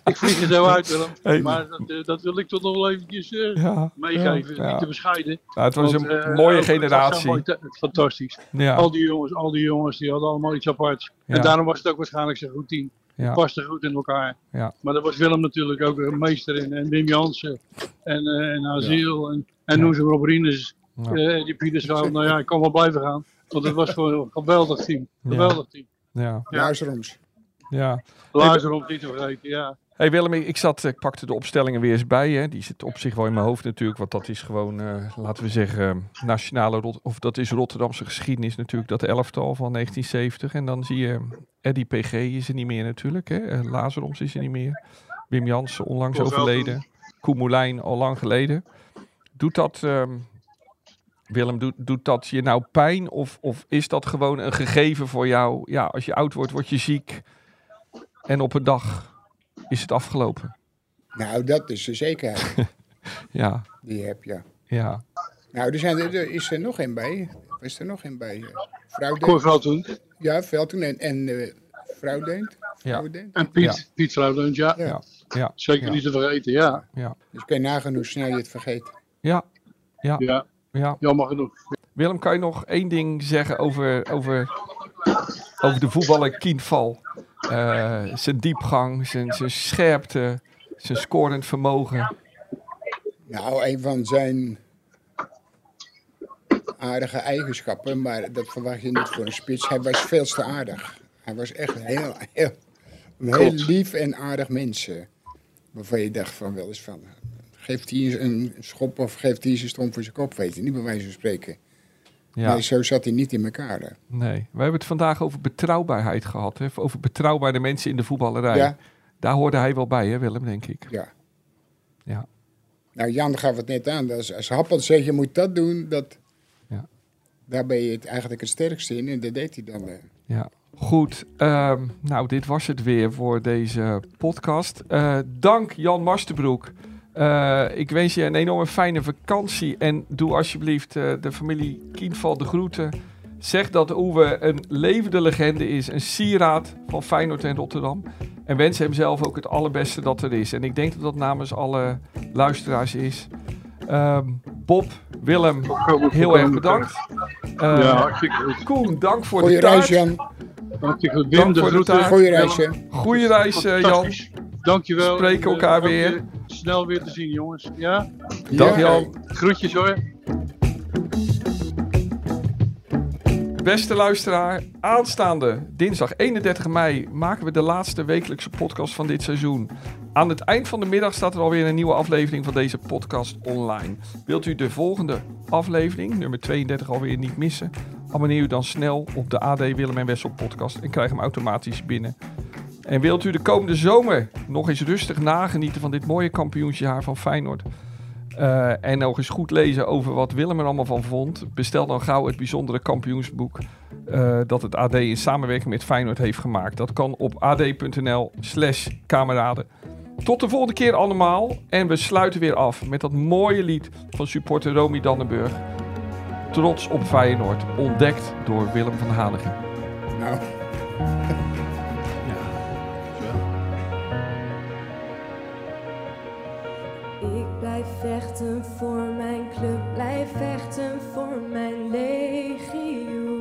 Ik vlieg er zo uit Willem, Hey. maar dat, eh, dat wil ik toch nog wel eventjes eh, Ja, meegeven, ja. niet te bescheiden. Nou, het was Want, een eh, mooie ook- het was een generatie. mooie tijd. Fantastisch. Ja, Al die jongens, al die jongens, die hadden allemaal iets aparts. Ja. En daarom was het ook waarschijnlijk zo'n goed team. ja, Paste goed in elkaar. Ja. Maar daar was Willem natuurlijk ook een meester in. En Wim Jansen. En, eh en Aziel. En, en Ja. noem ze maar op, Rinus. Ja. eh, die Pietersrouw. Nou ja, ik kan wel blijven gaan. Want het was gewoon een geweldig team. Ja. Geweldig team. ja, Ja. Luister ons. ja. Lazer om het niet te vergeten, ja. Hey Willem, ik, ik zat, ik pakte de opstellingen weer eens bij. Hè. Die zit op zich wel in mijn hoofd natuurlijk, want dat is gewoon, eh, laten we zeggen, nationale Rot- of dat is Rotterdamse geschiedenis natuurlijk, dat elftal van 1970. En dan zie je eh, Eddie PG is er niet meer natuurlijk, hè. Eh, Lazaroms is er niet meer. Wim Jansen onlangs Koolfelder. overleden. Koen Moulijn al lang geleden. Doet dat, ehm, Willem, doet, doet dat je nou pijn of, of is dat gewoon een gegeven voor jou? Ja, als je oud wordt, word je ziek en op een dag is het afgelopen. Nou, dat is de zekerheid Ja, die je hebt, ja. ja. Nou, er, zijn, er er is er nog een bij. Is er nog een bij? eh, Vrouwdeent. Koorveld toen. Ja, Veldhoen en, en eh Vrouwdeent. Vrouwdeent. En Piet. Ja. Piet Vrouwleund, ja. Ja. Ja, Zeker Ja. niet te vergeten, ja. Dus kun je nagaan hoe snel je het vergeet. ja, Ja, ja. jammer genoeg. Willem, kan je nog één ding zeggen over, over, over de voetballer Kienval? Eh, zijn diepgang, zijn, zijn scherpte, zijn scorend vermogen. Nou, een van zijn aardige eigenschappen, maar dat verwacht je niet voor een spits. Hij was veel te aardig. Hij was echt een heel, heel, een heel Klopt. lief en aardig mens. eh, Waarvan je dacht van wel eens van, geeft hij eens een schop of geeft hij eens een stomp voor zijn kop, weet je niet, bij wijze van spreken. Ja, Nee, zo zat hij niet in elkaar. hè. nee. We hebben het vandaag over betrouwbaarheid gehad. Hè? Over betrouwbare mensen in de voetballerij. Ja, Daar hoorde hij wel bij, hè Willem, denk ik. ja. Ja. Nou, Jan gaf het net aan. Als, als Happel zegt, je moet dat doen, dat, Ja. daar ben je het eigenlijk het sterkste in. En dat deed hij dan. eh. Ja, goed. Ehm, nou, dit was het weer voor deze podcast. Eh, dank Jan Masterbroek. Eh, ik wens je een enorme fijne vakantie. En doe alsjeblieft eh, de familie Kienval de groeten. Zeg dat Oewe een levende legende is. Een sieraad van Feyenoord en Rotterdam. En wens hem zelf ook het allerbeste dat er is. En ik denk dat dat namens alle luisteraars is. Ehm, Bob, Willem, heel erg bedankt. Eh, Ja, hartstikke goed. Koen, dank voor Goeie de taart. reis, Jan. Hartstikke goed. Wim, Dank de voor de groeten. taart. Goeie reis, hè. Goeie reis, eh, Jan. Fantastisch. Dankjewel. Spreken En, eh, elkaar hoop je weer. Snel weer te zien, jongens. Ja? Dag, Jan. Groetjes hoor. Beste luisteraar, aanstaande dinsdag 31 mei maken we de laatste wekelijkse podcast van dit seizoen. Aan het eind van de middag staat er alweer een nieuwe aflevering van deze podcast online. Wilt u de volgende aflevering, nummer 32, alweer niet missen? Abonneer u dan snel op de AD Willem en Wessel podcast en krijg hem automatisch binnen. En wilt u de komende zomer nog eens rustig nagenieten van dit mooie kampioensjaar van Feyenoord? Eh, en nog eens goed lezen over wat Willem er allemaal van vond. Bestel dan gauw het bijzondere kampioensboek eh, dat het AD in samenwerking met Feyenoord heeft gemaakt. Dat kan op ad.nl slash kameraden. Tot de volgende keer allemaal. En we sluiten weer af met dat mooie lied van supporter Romy Dannenburg. Trots op Feyenoord, ontdekt door Willem van Hanegem. Nou. Ik blijf vechten voor mijn club, blijf vechten voor mijn legio.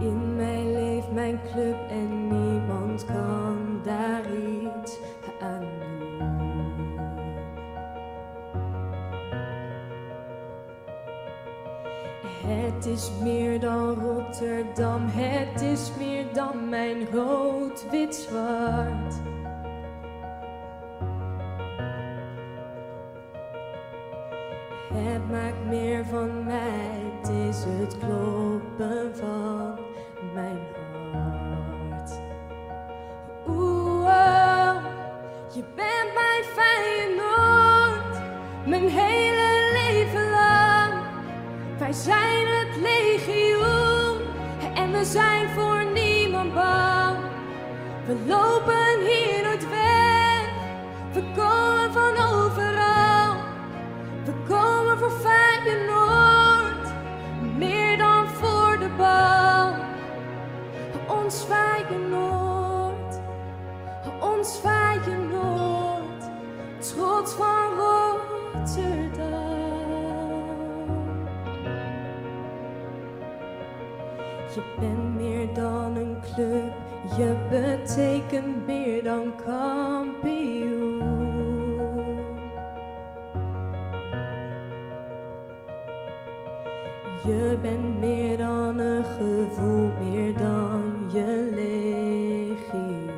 In mij leeft mijn club en niemand kan daar iets aan doen. Het is meer dan Rotterdam, het is meer dan mijn rood-wit-zwart. Het maakt meer van mij, het is het kloppen van mijn hart. Oeh, oh, je bent mijn Feyenoord, mijn hele leven lang. Wij zijn het legioen en we zijn voor niemand bang. We lopen hier nooit weg, we komen van overal. We komen voor Feyenoord, meer dan voor de bal. Ons Feyenoord, ons Feyenoord, trots van Rotterdam. Je bent meer dan een club, je betekent meer dan kampioen. Je bent meer dan een gevoel, meer dan je legioen.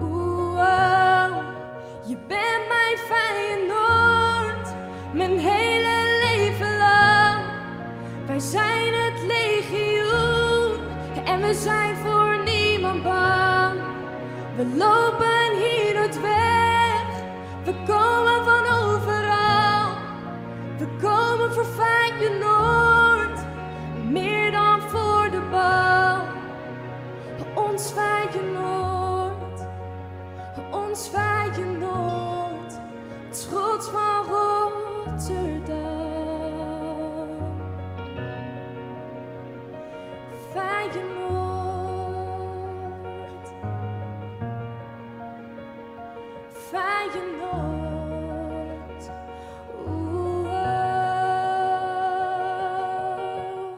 Oeh, oh, je bent mijn Feyenoord, mijn hele leven lang. Wij zijn het legioen en we zijn voor niemand bang. We lopen hier nooit weg, we komen van overal. We komen voor Feyenoord, meer dan voor de bal. Ons Feyenoord, ons Feyenoord, trots van Rotterdam. Feyenoord. Feyenoord. Oeh, oh.